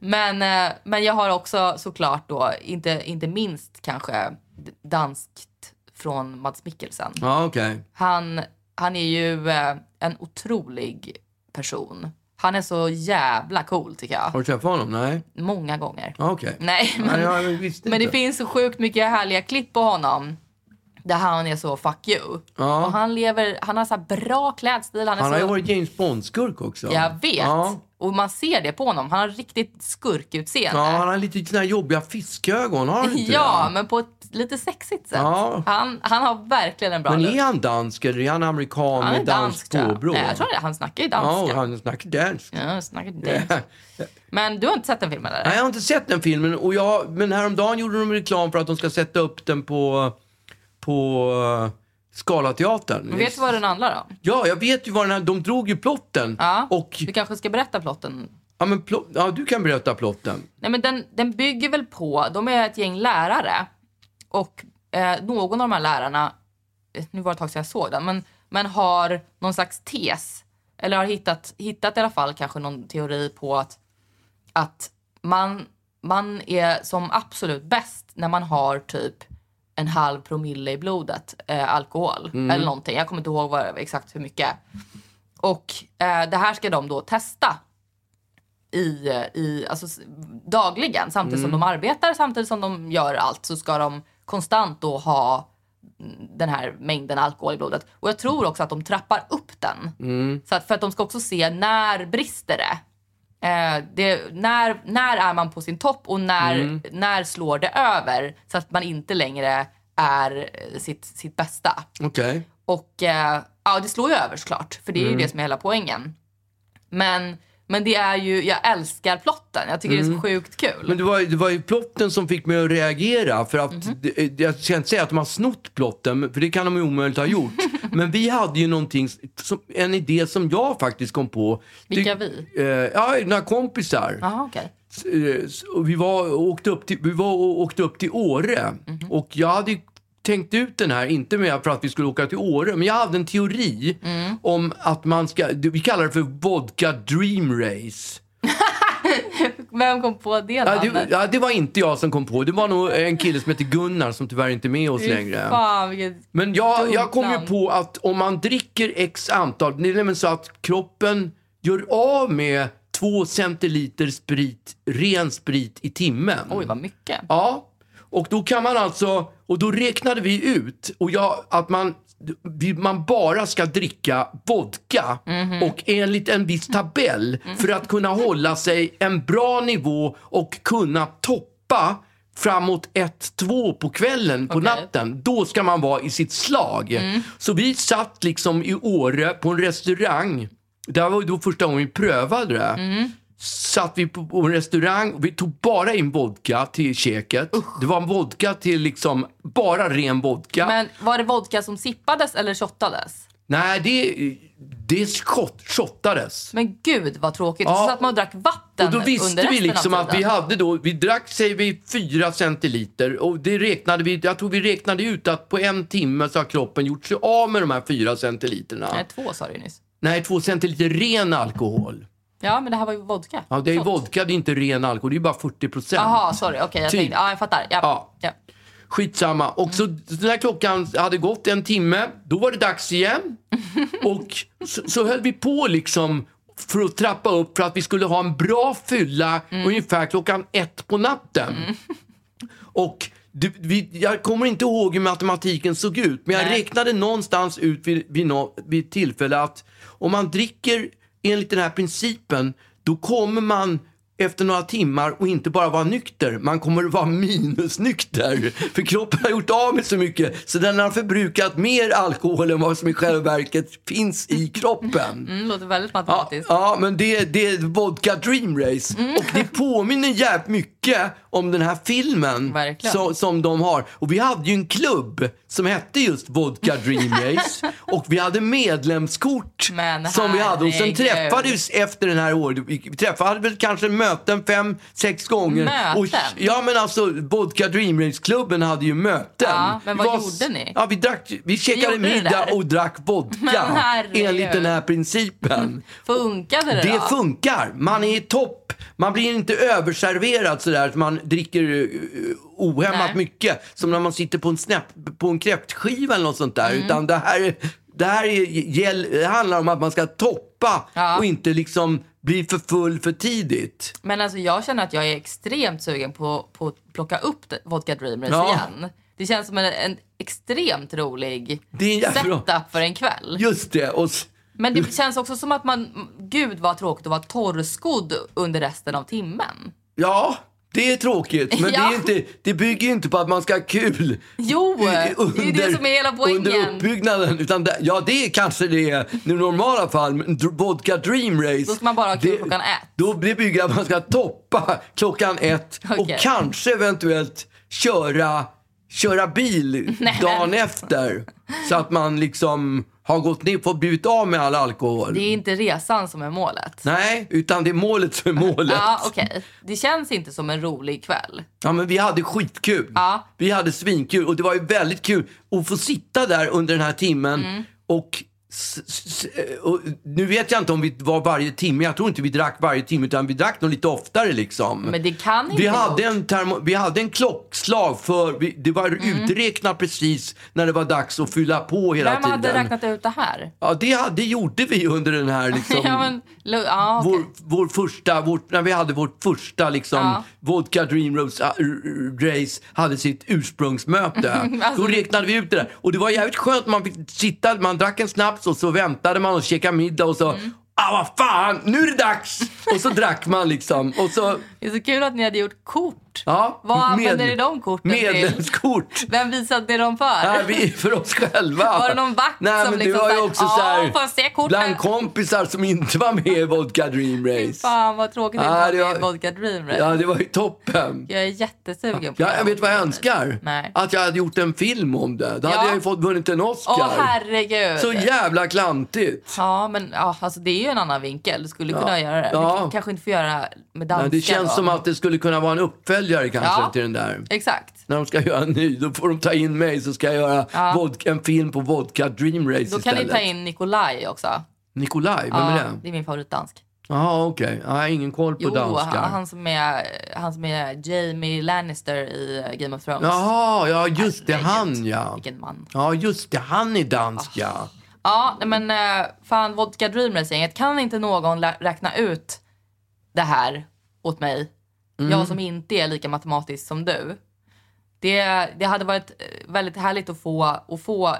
[SPEAKER 1] Men, eh, men jag har också såklart då, inte, inte minst kanske d- danskt från Mats Mikkelsen.
[SPEAKER 2] Ja, okej.
[SPEAKER 1] Han, han är ju eh, en otrolig person. Han är så jävla cool tycker jag.
[SPEAKER 2] Har du träffat honom? Nej.
[SPEAKER 1] Många gånger.
[SPEAKER 2] Ja, okej.
[SPEAKER 1] Nej, men,
[SPEAKER 2] Nej, jag visste
[SPEAKER 1] men det
[SPEAKER 2] inte.
[SPEAKER 1] finns så sjukt mycket härliga klipp på honom. Där han är så fuck you.
[SPEAKER 2] Ja.
[SPEAKER 1] Och han lever, han har så här bra klädstil. Han, är
[SPEAKER 2] Han har
[SPEAKER 1] så,
[SPEAKER 2] ju varit James Bond-skurk också.
[SPEAKER 1] alltså- Jag vet.
[SPEAKER 2] Alltså. Ja.
[SPEAKER 1] Och man ser det på honom. Han har riktigt skurkutseende.
[SPEAKER 2] Ja, han har lite sådana här jobbiga fiskögon, har
[SPEAKER 1] [laughs]
[SPEAKER 2] han inte
[SPEAKER 1] Ja,
[SPEAKER 2] det?
[SPEAKER 1] men på ett lite sexigt sätt.
[SPEAKER 2] Ja.
[SPEAKER 1] Han, han har verkligen en bra
[SPEAKER 2] Men
[SPEAKER 1] look.
[SPEAKER 2] är han dansk eller är han amerikan
[SPEAKER 1] Han är
[SPEAKER 2] med danskt
[SPEAKER 1] dansk tror jag.
[SPEAKER 2] påbrå?
[SPEAKER 1] Nej, jag tror det. Han snackar ju
[SPEAKER 2] Ja,
[SPEAKER 1] danska.
[SPEAKER 2] och han snackar dansk.
[SPEAKER 1] Ja, jag snackar
[SPEAKER 2] [laughs]
[SPEAKER 1] dansk. Men du har inte sett den filmen eller?
[SPEAKER 2] Nej, jag har inte sett den filmen. Och jag, men häromdagen gjorde de reklam för att de ska sätta upp den på, på eh, Scalateatern.
[SPEAKER 1] Men Vet du vad den handlar om?
[SPEAKER 2] Ja, jag vet ju vad den här... De drog ju plotten.
[SPEAKER 1] Ja.
[SPEAKER 2] Och,
[SPEAKER 1] Du kanske ska berätta plotten
[SPEAKER 2] ja, men plot, ja, du kan berätta plotten.
[SPEAKER 1] Nej, men den, den bygger väl på, de är ett gäng lärare och eh, någon av de här lärarna, eh, nu var det ett tag sedan jag såg den, men, men har någon slags tes. Eller har hittat, hittat i alla fall kanske någon teori på att, att man, man är som absolut bäst när man har typ en halv promille i blodet eh, alkohol eller någonting. Jag kommer inte ihåg vad, exakt hur mycket. Och eh, det här ska de då testa i, i, alltså, s- dagligen samtidigt som de arbetar, samtidigt som de gör allt så ska de konstant då ha mm, den här mängden alkohol i blodet. Och jag tror också att de trappar upp den. Så att, för att de ska också se när brister det. Eh, det när, när är man på sin topp och när, när slår det över så att man inte längre är eh, sitt, sitt bästa.
[SPEAKER 2] Okej.
[SPEAKER 1] Och eh, ja, det slår ju över såklart. För det är
[SPEAKER 2] Mm.
[SPEAKER 1] ju det som är hela poängen. Men, men det är ju, jag älskar plotten. Jag tycker det är så sjukt kul.
[SPEAKER 2] Mm. Men det var, det var ju plotten som fick mig att reagera. För att,
[SPEAKER 1] Mhm.
[SPEAKER 2] det- eh, Jag ska inte säga att de har snott plotten, för det kan de ju omöjligt ha
[SPEAKER 1] [laughs]
[SPEAKER 2] gjort. Men vi hade ju någonting, som, en idé som jag faktiskt kom på.
[SPEAKER 1] Vilka
[SPEAKER 2] Det-
[SPEAKER 1] vi?
[SPEAKER 2] Eh, ja, några kompisar.
[SPEAKER 1] Jaha, okej.
[SPEAKER 2] Eh, s- och vi var, och åkte, upp till, vi var och åkte upp till Åre.
[SPEAKER 1] Mhm.
[SPEAKER 2] Och jag hade ju tänkt ut den här, inte med för att vi skulle åka till Åre, men jag hade en teori
[SPEAKER 1] Mm.
[SPEAKER 2] om att man ska, vi kallar det för vodka dream race.
[SPEAKER 1] Vem kom på det
[SPEAKER 2] Ja,
[SPEAKER 1] namnet?
[SPEAKER 2] det, ja, det var inte jag som kom på, det var nog en kille som heter Gunnar som tyvärr inte är med oss
[SPEAKER 1] Fy
[SPEAKER 2] längre.
[SPEAKER 1] Fan, vilket...
[SPEAKER 2] Men jag,
[SPEAKER 1] Dumt
[SPEAKER 2] jag kom ju
[SPEAKER 1] namn.
[SPEAKER 2] på att om man dricker x antal, det är nämligen så att kroppen gör av med två centiliter sprit, ren sprit i timmen.
[SPEAKER 1] Oj, vad mycket.
[SPEAKER 2] Ja, och då kan man alltså, och då räknade vi ut och jag, att man, vi- man bara ska dricka vodka och enligt en viss tabell för att kunna hålla sig en bra nivå och kunna toppa framåt 1-2 på kvällen, på natten. Då ska man vara i sitt slag. Så vi satt liksom i Åre på en restaurang. Det här var ju då första gången vi prövade det satt vi på, på en restaurang. Vi tog bara in vodka till käket. Det var en vodka till liksom bara ren vodka.
[SPEAKER 1] Men var det vodka som sippades eller shottades?
[SPEAKER 2] Nej, det, det shot, shottades.
[SPEAKER 1] Men gud vad tråkigt.
[SPEAKER 2] Ja.
[SPEAKER 1] Så satt man och drack vatten
[SPEAKER 2] Och då
[SPEAKER 1] under
[SPEAKER 2] visste
[SPEAKER 1] resten
[SPEAKER 2] vi liksom
[SPEAKER 1] av
[SPEAKER 2] att vi
[SPEAKER 1] tiden.
[SPEAKER 2] hade då, vi drack säger vi 4 centiliter och det räknade vi, jag tror vi räknade ut att på en timme så har kroppen gjort sig av med de här 4 centiliterna.
[SPEAKER 1] Nej, två sa du ju nyss.
[SPEAKER 2] Nej, 2 centiliter ren alkohol.
[SPEAKER 1] Ja, men det här var ju vodka.
[SPEAKER 2] Ja, det är ju
[SPEAKER 1] Shot.
[SPEAKER 2] vodka, det är inte ren alkohol, det är ju bara 40 procent.
[SPEAKER 1] Jaha, sorry. Okej, jag
[SPEAKER 2] Typ.
[SPEAKER 1] tänkte... Ja, jag fattar. Ja.
[SPEAKER 2] Ja.
[SPEAKER 1] Ja.
[SPEAKER 2] Skitsamma. Och så så när klockan hade gått en timme, då var det dags igen. Och så, så höll vi på liksom för att trappa upp för att vi skulle ha en bra fylla ungefär klockan ett på natten. Och du, vi, jag kommer inte ihåg hur matematiken såg ut, men jag
[SPEAKER 1] Nej.
[SPEAKER 2] räknade någonstans ut vid, vid, nå- vid tillfälle att om man dricker enligt den här principen, då kommer man efter några timmar och inte bara vara nykter, man kommer att vara [laughs] minusnykter. För kroppen har gjort av med så mycket så den har förbrukat mer alkohol än vad som i själva verket finns i kroppen.
[SPEAKER 1] Mm, låter väldigt
[SPEAKER 2] Ja,
[SPEAKER 1] matematiskt.
[SPEAKER 2] ja, men det, det är vodka dream race.
[SPEAKER 1] Mm.
[SPEAKER 2] Och det påminner jävligt mycket om den här filmen
[SPEAKER 1] Verkligen.
[SPEAKER 2] som, som de har. Och vi hade ju en klubb som hette just vodka dream
[SPEAKER 1] [laughs]
[SPEAKER 2] race. och vi hade medlemskort
[SPEAKER 1] Men
[SPEAKER 2] som vi hade. Och sen
[SPEAKER 1] herregud.
[SPEAKER 2] träffades efter den här året. Vi träffades väl kanske möten fem, sex gånger.
[SPEAKER 1] Möten?
[SPEAKER 2] Och, ja, men alltså vodka dream race-klubben hade ju möten.
[SPEAKER 1] Ja, men
[SPEAKER 2] Vi
[SPEAKER 1] vad
[SPEAKER 2] var-
[SPEAKER 1] gjorde ni?
[SPEAKER 2] Ja, vi, drack, vi
[SPEAKER 1] gjorde
[SPEAKER 2] käkade
[SPEAKER 1] det
[SPEAKER 2] middag
[SPEAKER 1] där.
[SPEAKER 2] och drack vodka
[SPEAKER 1] Men herregud.
[SPEAKER 2] enligt den här principen.
[SPEAKER 1] Funkade det,
[SPEAKER 2] Det
[SPEAKER 1] då?
[SPEAKER 2] funkar. Man är i topp. Man blir inte överserverad sådär att man dricker eh, ohämmat
[SPEAKER 1] Nej.
[SPEAKER 2] mycket. Som när man sitter på en, snäpp, på en kräftskiva eller något sånt där.
[SPEAKER 1] Mm.
[SPEAKER 2] Utan det här, är- det här är, gäll- det handlar om att man ska toppa
[SPEAKER 1] Ja.
[SPEAKER 2] och inte liksom bli för full för tidigt.
[SPEAKER 1] Men alltså jag känner att jag är extremt sugen på, på att plocka upp det- Vodka Dreamers
[SPEAKER 2] Ja.
[SPEAKER 1] igen. Det känns som en, en extremt rolig
[SPEAKER 2] Det är en jävla-
[SPEAKER 1] setup för en kväll.
[SPEAKER 2] Just det. Och s-
[SPEAKER 1] Men det känns också som att man, gud vad tråkigt att vara torrskodd under resten av timmen.
[SPEAKER 2] ja, det är tråkigt. Men
[SPEAKER 1] Ja.
[SPEAKER 2] det, är inte, det bygger ju inte på att man ska ha kul.
[SPEAKER 1] Jo, det är ju det som är hela
[SPEAKER 2] Under
[SPEAKER 1] poängen.
[SPEAKER 2] uppbyggnaden. Utan det, ja, det är kanske det är i normala fall. men dr- Vodka Dream Race.
[SPEAKER 1] Då ska man bara ha kul
[SPEAKER 2] det-
[SPEAKER 1] klockan ett.
[SPEAKER 2] Då blir bygger att man ska toppa klockan ett och
[SPEAKER 1] Okej.
[SPEAKER 2] kanske eventuellt köra, köra
[SPEAKER 1] [laughs]
[SPEAKER 2] bil dagen efter. Så att man liksom har gått ner, fått blivit av med all alkohol.
[SPEAKER 1] Det är inte resan som är målet.
[SPEAKER 2] Nej, utan det är målet som är målet.
[SPEAKER 1] Ja, okej. Det känns inte som en rolig kväll.
[SPEAKER 2] Ja, men vi hade skitkul.
[SPEAKER 1] Ja.
[SPEAKER 2] Vi hade svinkul och det var ju väldigt kul att få sitta där under den här timmen
[SPEAKER 1] Mm.
[SPEAKER 2] och, s- s- och nu vet jag inte om vi var varje timme, jag tror inte vi drack varje timme utan vi drack nog lite oftare liksom.
[SPEAKER 1] Men det kan inte
[SPEAKER 2] vi
[SPEAKER 1] gå.
[SPEAKER 2] hade, en termo, vi hade en klockslag för vi, det var
[SPEAKER 1] Mm.
[SPEAKER 2] uträknat precis när det var dags att fylla på hela
[SPEAKER 1] Vem hade
[SPEAKER 2] tiden.
[SPEAKER 1] räknat ut det här?
[SPEAKER 2] Ja, det, hade- det gjorde vi under den
[SPEAKER 1] [laughs]
[SPEAKER 2] här liksom,
[SPEAKER 1] Ja, men, lo- ja, okej.
[SPEAKER 2] vår, vår första, vårt, när vi hade vårt första liksom,
[SPEAKER 1] Ja.
[SPEAKER 2] Vodka Dream Rose, äh, Race hade sitt
[SPEAKER 1] [laughs]
[SPEAKER 2] ursprungsmöte.
[SPEAKER 1] Alltså.
[SPEAKER 2] Då räknade vi ut det där. Och det var jävligt skönt. Man fick sitta, man drack en snaps och så väntade man och käkade middag och så
[SPEAKER 1] Mm.
[SPEAKER 2] Ah, vad fan, nu är det dags! [laughs] Och så drack man liksom. Och så,
[SPEAKER 1] Det är så kul att ni hade gjort kort.
[SPEAKER 2] ja,
[SPEAKER 1] Vad använde
[SPEAKER 2] med-
[SPEAKER 1] ni de korten till?
[SPEAKER 2] Medlemskort.
[SPEAKER 1] Vem visade ni dem för?
[SPEAKER 2] Nej,
[SPEAKER 1] [laughs]
[SPEAKER 2] vi, för oss själva.
[SPEAKER 1] Var det någon vakt
[SPEAKER 2] Nej,
[SPEAKER 1] som
[SPEAKER 2] men
[SPEAKER 1] liksom
[SPEAKER 2] det var ju
[SPEAKER 1] såhär,
[SPEAKER 2] också
[SPEAKER 1] "Ja,
[SPEAKER 2] så
[SPEAKER 1] får jag se korten?"
[SPEAKER 2] bland kompisar som inte var med i Vodka Dream
[SPEAKER 1] Fy
[SPEAKER 2] Race.
[SPEAKER 1] Fan vad tråkigt att
[SPEAKER 2] Ja,
[SPEAKER 1] ah,
[SPEAKER 2] det
[SPEAKER 1] det var
[SPEAKER 2] var-
[SPEAKER 1] Vodka Dream Race.
[SPEAKER 2] Ja, det var ju toppen.
[SPEAKER 1] Jag är jättesugen på
[SPEAKER 2] Ja,
[SPEAKER 1] det.
[SPEAKER 2] jag vet vad jag önskar.
[SPEAKER 1] Nej.
[SPEAKER 2] Att jag hade gjort en film om det. Då
[SPEAKER 1] Ja.
[SPEAKER 2] hade jag ju fått vunnit en Oscar.
[SPEAKER 1] Åh herregud.
[SPEAKER 2] så jävla klantigt.
[SPEAKER 1] Ja, men ja, alltså, det är ju en annan vinkel. Du skulle kunna göra det.
[SPEAKER 2] Ja.
[SPEAKER 1] Du k- kanske inte får göra med danska
[SPEAKER 2] Nej, det känns
[SPEAKER 1] då.
[SPEAKER 2] som att det skulle kunna vara en uppföljare kanske
[SPEAKER 1] Ja.
[SPEAKER 2] till den där.
[SPEAKER 1] Exakt.
[SPEAKER 2] När de ska göra en ny, då får de ta in mig så ska jag göra vodka, en film på Vodka Dream Race
[SPEAKER 1] Då kan
[SPEAKER 2] istället.
[SPEAKER 1] ni ta in Nikolaj också.
[SPEAKER 2] Nikolaj, vem
[SPEAKER 1] Ja,
[SPEAKER 2] är det?
[SPEAKER 1] det är min favoritdansk.
[SPEAKER 2] Jaha, okej. Ja, jag har ingen koll på
[SPEAKER 1] Jo,
[SPEAKER 2] danskar.
[SPEAKER 1] han, han, som är, han som är Jamie Lannister i eh, Game of Thrones.
[SPEAKER 2] Jaha, ja just det,
[SPEAKER 1] Herregud. Ah,
[SPEAKER 2] han ja.
[SPEAKER 1] Vilken man.
[SPEAKER 2] Ja, just det, han är dansk ja.
[SPEAKER 1] Ja, nej, men eh, fan Vodka Dreamers-gänget. Kan inte någon lä- räkna ut det här åt mig?
[SPEAKER 2] Mm.
[SPEAKER 1] Jag som inte är lika matematisk som du. Det, det hade varit eh, väldigt härligt att få, att få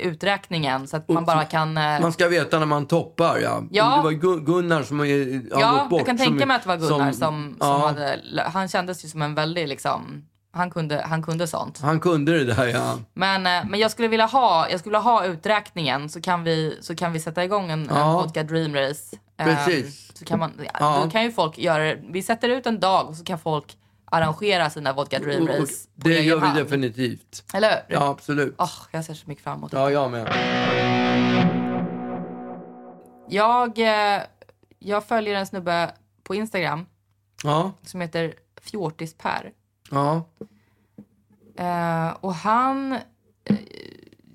[SPEAKER 1] uträkningen så att man bara kan... eh,
[SPEAKER 2] Man ska veta när man toppar, ja.
[SPEAKER 1] Ja.
[SPEAKER 2] Det var Gun- Gunnar som är, har
[SPEAKER 1] ja,
[SPEAKER 2] gått bort.
[SPEAKER 1] jag kan tänka
[SPEAKER 2] som-
[SPEAKER 1] mig att det var Gunnar som, som,
[SPEAKER 2] ja,
[SPEAKER 1] hade... lö- Han kändes ju som en väldigt liksom... Han kunde, han kunde sånt.
[SPEAKER 2] Han kunde det där, ja.
[SPEAKER 1] Men, eh, men jag skulle vilja ha, jag skulle vilja ha uträkningen så kan vi, så kan vi sätta igång en, en Vodka Dream Race. Eh,
[SPEAKER 2] Precis.
[SPEAKER 1] Så kan man,
[SPEAKER 2] Ja.
[SPEAKER 1] Då kan ju folk göra det. Vi sätter ut en dag och så kan folk arrangera sina Vodka Dream
[SPEAKER 2] Och- och
[SPEAKER 1] Race på
[SPEAKER 2] Oh, det
[SPEAKER 1] egen
[SPEAKER 2] gör vi
[SPEAKER 1] hand.
[SPEAKER 2] definitivt.
[SPEAKER 1] Eller hur?
[SPEAKER 2] Ja, absolut.
[SPEAKER 1] Åh, jag ser så mycket fram emot det.
[SPEAKER 2] Ja, jag med.
[SPEAKER 1] Jag, eh, jag följer en snubbe på Instagram
[SPEAKER 2] Ja,
[SPEAKER 1] som heter Fjortis-Per.
[SPEAKER 2] ja.
[SPEAKER 1] Eh, och han... eh,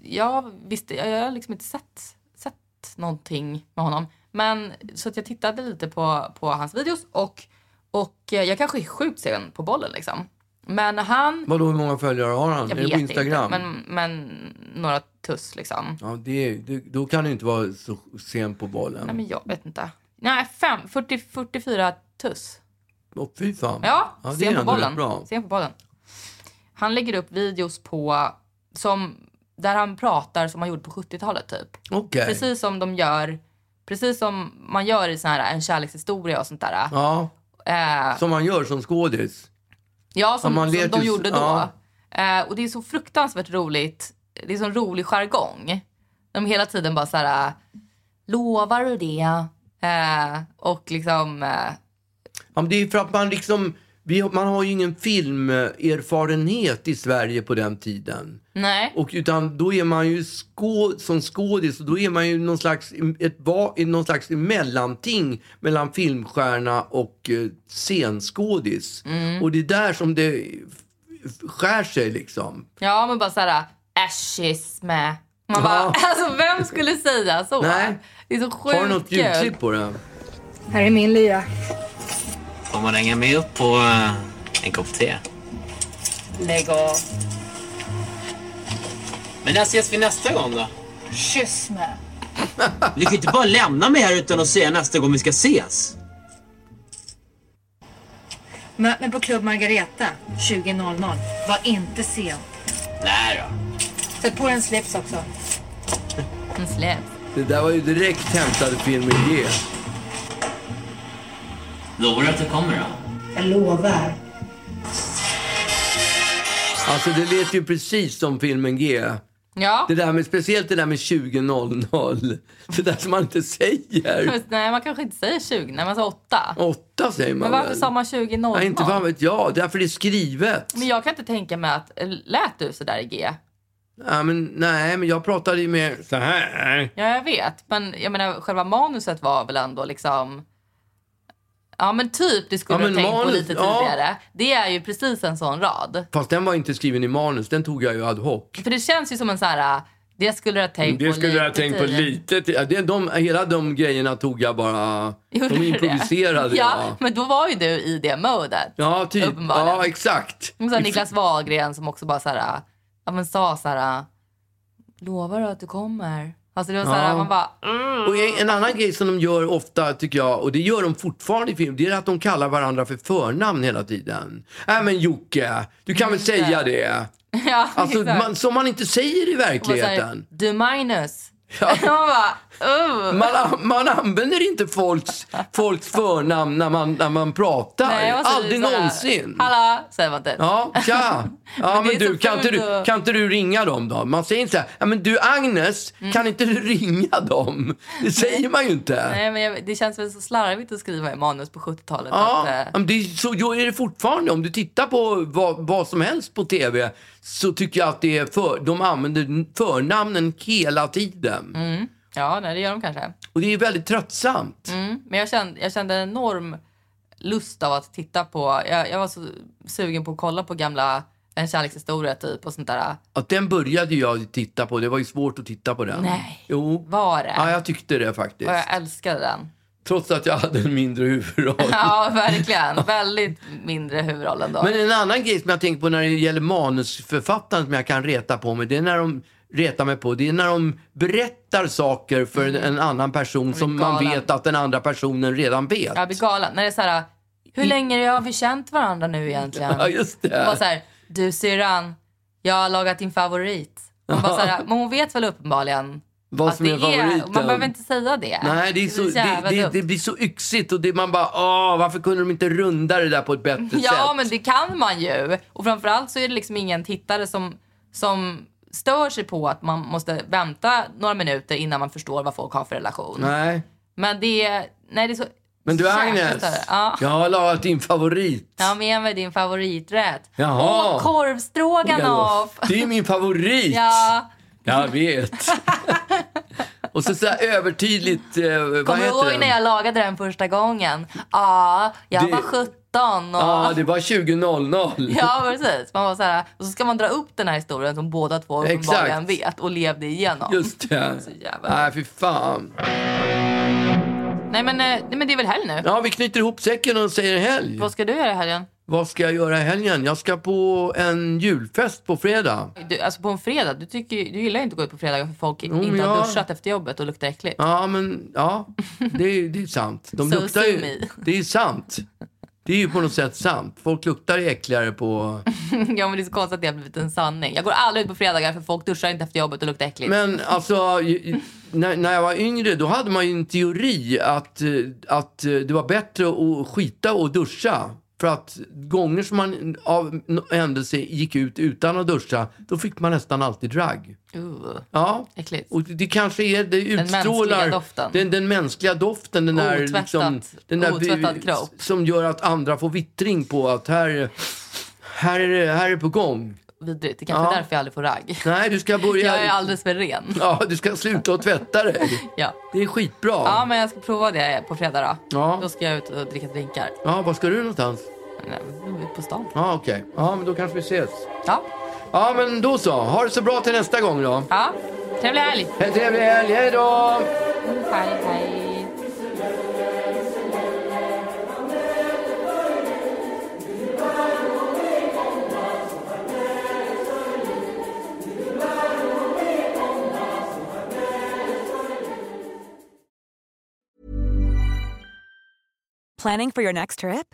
[SPEAKER 1] jag visste, jag har liksom inte sett, sett någonting med honom. Men så att jag tittade lite på, på hans videos och, och eh, jag kanske är sjukt sen på bollen liksom. Men han...
[SPEAKER 2] Vadå, hur många följare har han?
[SPEAKER 1] Jag
[SPEAKER 2] är det
[SPEAKER 1] vet
[SPEAKER 2] på Instagram?
[SPEAKER 1] inte, men, men några tuss liksom.
[SPEAKER 2] Ja, det, är- det, då kan du inte vara så sen på bollen.
[SPEAKER 1] Nej men jag vet inte. Nej, fem, 40, 44 tuss.
[SPEAKER 2] Åh, fy fan.
[SPEAKER 1] Ja,
[SPEAKER 2] det är
[SPEAKER 1] sen
[SPEAKER 2] ändå
[SPEAKER 1] på
[SPEAKER 2] rätt
[SPEAKER 1] bollen.
[SPEAKER 2] Bra.
[SPEAKER 1] Sen på bollen. Han lägger upp videos på, som, där han pratar som han gjorde på 70-talet typ.
[SPEAKER 2] Okej.
[SPEAKER 1] Precis som de gör, precis som man gör i sån här en kärlekshistoria och sånt där.
[SPEAKER 2] Ja,
[SPEAKER 1] Eh,
[SPEAKER 2] Som man gör som skådis.
[SPEAKER 1] ja, som,
[SPEAKER 2] om man
[SPEAKER 1] som
[SPEAKER 2] ler
[SPEAKER 1] de
[SPEAKER 2] tills-
[SPEAKER 1] gjorde då.
[SPEAKER 2] ja.
[SPEAKER 1] Eh, och det är så fruktansvärt roligt. Det är sån rolig jargong. De hela tiden bara så här... eh, Lovar du det? Eh, och liksom... Eh,
[SPEAKER 2] Ja, men det är för att man liksom, vi, man har ju ingen filmerfarenhet i Sverige på den tiden.
[SPEAKER 1] nej.
[SPEAKER 2] Och utan då är man ju skå, som skådis, och då är man ju någon slags, ett, va- någon slags mellanting mellan filmstjärna och eh, scenskådis.
[SPEAKER 1] Mm.
[SPEAKER 2] Och det är där som det f- skär sig liksom.
[SPEAKER 1] Ja, men bara så här... Äschis med.
[SPEAKER 2] Ja.
[SPEAKER 1] Man bara, alltså vem skulle säga så?
[SPEAKER 2] Nej.
[SPEAKER 1] Det är så sjukt
[SPEAKER 2] Har du något
[SPEAKER 1] kul.
[SPEAKER 2] ljudklipp på det?
[SPEAKER 6] Här är min lya.
[SPEAKER 7] Får man hänga med upp på eh, en kopp te?
[SPEAKER 6] Lägg av.
[SPEAKER 7] Men när ses vi nästa gång då?
[SPEAKER 6] Kyss med.
[SPEAKER 7] Du kan ju inte bara lämna mig här utan att säga nästa gång vi ska ses.
[SPEAKER 6] Möt mig på Club Margareta 20.00. Var inte sen.
[SPEAKER 7] Nej då.
[SPEAKER 6] Sätt på dig en slips också.
[SPEAKER 1] En släp.
[SPEAKER 2] Det där var ju direkt hämtad filmen G.
[SPEAKER 7] Lovar du att du kommer då?
[SPEAKER 6] Jag lovar.
[SPEAKER 2] Alltså det lät ju precis som filmen G.
[SPEAKER 1] Ja.
[SPEAKER 2] Det där med, speciellt det där med 20.00. Det där som man inte
[SPEAKER 1] [laughs]
[SPEAKER 2] säger.
[SPEAKER 1] Just, nej, man kanske inte säger 20, nej, man sa 8.
[SPEAKER 2] Åtta säger man
[SPEAKER 1] men varför
[SPEAKER 2] väl?
[SPEAKER 1] sa man 20 noll?
[SPEAKER 2] Nej, inte fan vet jag. Därför det är skrivet.
[SPEAKER 1] Men jag kan inte tänka mig att, eh, lät du sådär i G?
[SPEAKER 2] Ja, men, nej, men jag pratade ju med så här.
[SPEAKER 1] Ja, jag vet. Men jag menar, själva manuset var väl ändå liksom... Ja, men typ det
[SPEAKER 2] Ja,
[SPEAKER 1] skulle du ha
[SPEAKER 2] men
[SPEAKER 1] tänkt på
[SPEAKER 2] manus-
[SPEAKER 1] lite
[SPEAKER 2] ja.
[SPEAKER 1] tidigare. Det är ju precis en sån rad.
[SPEAKER 2] Fast den var inte skriven i manus. Den tog jag ju ad hoc.
[SPEAKER 1] För det känns ju som en sån här... Det skulle du ha tänkt på
[SPEAKER 2] Det skulle jag ha
[SPEAKER 1] lite
[SPEAKER 2] tänkt på
[SPEAKER 1] tidigare.
[SPEAKER 2] lite. till- ja, Det, de, hela de grejerna tog jag bara...
[SPEAKER 1] [laughs] Gjorde
[SPEAKER 2] de
[SPEAKER 1] du det?
[SPEAKER 2] improviserade
[SPEAKER 1] Ja,
[SPEAKER 2] jag.
[SPEAKER 1] men då var ju du i det modet.
[SPEAKER 2] Ja, typ.
[SPEAKER 1] Uppenbarligen.
[SPEAKER 2] Ja, exakt.
[SPEAKER 1] Men så här, Niklas Wahlgren som också bara så här, ja, men sa så här, lovar du att du kommer? Alltså det var så här,
[SPEAKER 2] Ja.
[SPEAKER 1] man bara, [laughs]
[SPEAKER 2] Och en, en annan grej som de gör ofta, tycker jag, och det gör de fortfarande i film, det är att de kallar varandra för förnamn hela tiden. Nej men Jocke, du kan väl säga det?
[SPEAKER 1] ja,
[SPEAKER 2] Alltså,
[SPEAKER 1] [laughs] exakt.
[SPEAKER 2] man, som man inte säger i
[SPEAKER 1] Och bara så här,
[SPEAKER 2] verkligheten.
[SPEAKER 1] Du minus. [laughs]
[SPEAKER 2] Ja.
[SPEAKER 1] man bara, uh.
[SPEAKER 2] Man, an- man använder inte folks, folks förnamn när man, när man pratar.
[SPEAKER 1] och så är det
[SPEAKER 2] Aldrig
[SPEAKER 1] så här,
[SPEAKER 2] någonsin.
[SPEAKER 1] Hallå, säger man typ. [laughs]
[SPEAKER 2] Ja, tja. Ja,
[SPEAKER 1] Men det
[SPEAKER 2] men,
[SPEAKER 1] är så
[SPEAKER 2] du, kan,
[SPEAKER 1] fult
[SPEAKER 2] inte du,
[SPEAKER 1] att-
[SPEAKER 2] kan inte du ringa dem då? Man säger inte så här, ja, men du Agnes,
[SPEAKER 1] Mm.
[SPEAKER 2] kan inte du ringa dem? Det säger man ju inte.
[SPEAKER 1] Nej, men jag, det känns väl så slarvigt att skriva i manus på 70-talet.
[SPEAKER 2] Ja,
[SPEAKER 1] Att, eh,
[SPEAKER 2] men det är, så jo, är det fortfarande. Om du tittar på vad, vad som helst på tv så tycker jag att det är för, de använder förnamnen hela tiden.
[SPEAKER 1] Mm. ja nej, det gör de kanske.
[SPEAKER 2] Och det är väldigt tröttsamt.
[SPEAKER 1] Men jag kände, jag kände en enorm lust av att titta på... Jag, jag var så sugen på att kolla på gamla En kärlekshistoria typ och sånt där.
[SPEAKER 2] Att den började jag titta på. Det var ju svårt att titta på den.
[SPEAKER 1] Nej.
[SPEAKER 2] Jo.
[SPEAKER 1] Var det?
[SPEAKER 2] Ja, jag tyckte det faktiskt.
[SPEAKER 1] Och jag älskade den. [laughs]
[SPEAKER 2] Trots att jag hade en mindre huvudroll.
[SPEAKER 1] Ja, verkligen. Väldigt mindre huvudroll ändå.
[SPEAKER 2] Men en annan grej som jag tänker på när det gäller manusförfattaren som jag kan reta på mig, det är när de retar mig på, det är när de berättar saker för en, en annan person som man
[SPEAKER 1] Mm. galen.
[SPEAKER 2] vet att den andra personen redan vet.
[SPEAKER 1] Jag blir galen. När det är så här, hur länge har vi känt varandra nu egentligen?
[SPEAKER 2] [laughs] Ja, just det.
[SPEAKER 1] Bara så här, du syrran, jag har lagat din favorit. Man bara så här, men hon vet väl uppenbarligen
[SPEAKER 2] Vad
[SPEAKER 1] att
[SPEAKER 2] som är favoriten.
[SPEAKER 1] Man behöver inte säga det.
[SPEAKER 2] Nej, det, är så, det,
[SPEAKER 1] jävla
[SPEAKER 2] det,
[SPEAKER 1] dumt.
[SPEAKER 2] det blir så yxigt och det, man bara, åh, varför kunde de inte runda det där på ett bättre sätt?
[SPEAKER 1] Ja, men det kan man ju. Och framförallt så är det liksom ingen tittare som, som stör sig på att man måste vänta några minuter innan man förstår vad folk har för relation.
[SPEAKER 2] Nej.
[SPEAKER 1] Men det är... Nej, det är så...
[SPEAKER 2] Men du
[SPEAKER 1] jäkla
[SPEAKER 2] Agnes,
[SPEAKER 1] större. Ja.
[SPEAKER 2] jag har lagat din favorit.
[SPEAKER 1] Jag har med mig din favoriträtt.
[SPEAKER 2] Jaha.
[SPEAKER 1] Åh, korvstroganoff!
[SPEAKER 2] Det är min favorit.
[SPEAKER 1] Ja,
[SPEAKER 2] Jag
[SPEAKER 1] [laughs]
[SPEAKER 2] vet. och så sådär övertydligt, eh, vad
[SPEAKER 1] kommer du
[SPEAKER 2] heter
[SPEAKER 1] ihåg
[SPEAKER 2] den?
[SPEAKER 1] när jag lagade den första gången? Ja, jag
[SPEAKER 2] Det-
[SPEAKER 1] var 17 och...
[SPEAKER 2] Ja, det var 20.00.
[SPEAKER 1] [laughs] Ja, precis. Man var så här, och så ska man dra upp den här historien som båda två
[SPEAKER 2] Exakt.
[SPEAKER 1] uppenbarligen vet och levde igenom.
[SPEAKER 2] Just det.
[SPEAKER 1] Så jävla-
[SPEAKER 2] Nej, fy fan.
[SPEAKER 1] Nej, men, eh, nej, men det är väl helg nu?
[SPEAKER 2] Ja, vi knyter ihop säcken och säger helg.
[SPEAKER 1] Vad ska du göra i helgen?
[SPEAKER 2] Vad ska jag göra i helgen? Jag ska på en julfest på fredag.
[SPEAKER 1] Du, alltså på en fredag, du, tycker, ju- du gillar ju inte att gå ut på fredagar för folk
[SPEAKER 2] men
[SPEAKER 1] inte har
[SPEAKER 2] jag-
[SPEAKER 1] duschat efter jobbet och luktar äckligt.
[SPEAKER 2] Ja, men ja, det är, det är sant. De
[SPEAKER 1] So
[SPEAKER 2] luktar
[SPEAKER 1] sue
[SPEAKER 2] ju,
[SPEAKER 1] me.
[SPEAKER 2] det är sant. Det är ju på något sätt sant. Folk luktar ju äckligare på...
[SPEAKER 1] [laughs] Ja men det är så konstigt att det har blivit en sanning. Jag går aldrig ut på fredagar för folk duschar inte efter jobbet och luktar äckligt.
[SPEAKER 2] Men alltså, när, när jag var yngre då hade man ju en teori att, eh, att eh, det var bättre att skita och duscha. För att gånger som man av n- händelse gick ut utan att duscha, då fick man nästan alltid drag.
[SPEAKER 1] Uh,
[SPEAKER 2] Ja.
[SPEAKER 1] äckligt.
[SPEAKER 2] Och det det kanske är, det
[SPEAKER 1] mänskliga
[SPEAKER 2] utstrålar
[SPEAKER 1] doften.
[SPEAKER 2] den, den mänskliga doften. Den där,
[SPEAKER 1] Otvättat-
[SPEAKER 2] liksom, den där bu-
[SPEAKER 1] otvättad kropp.
[SPEAKER 2] Som gör att andra får vittring på att här, här, är, det- här är på gång.
[SPEAKER 1] Vidrigt. Det kanske är
[SPEAKER 2] Ja.
[SPEAKER 1] därför jag aldrig får ragg.
[SPEAKER 2] Nej, du ska börja...
[SPEAKER 1] Jag är alldeles för ren.
[SPEAKER 2] Ja, du ska sluta att tvätta dig.
[SPEAKER 1] Ja.
[SPEAKER 2] Det är skitbra.
[SPEAKER 1] ja, men jag ska prova det på fredag då.
[SPEAKER 2] Ja.
[SPEAKER 1] Då ska jag ut och dricka drinkar.
[SPEAKER 2] Ja, var ska du någonstans?
[SPEAKER 1] Nej, nu är vi på stan.
[SPEAKER 2] Ja, okej. Ja, men då kanske vi ses.
[SPEAKER 1] Ja,
[SPEAKER 2] Ja, men då så. Ha det så bra till nästa gång då.
[SPEAKER 1] ja. trevlig helg.
[SPEAKER 2] Hej, trevlig helg. Hej då!
[SPEAKER 1] Hej, hej.
[SPEAKER 3] Planning for your next trip?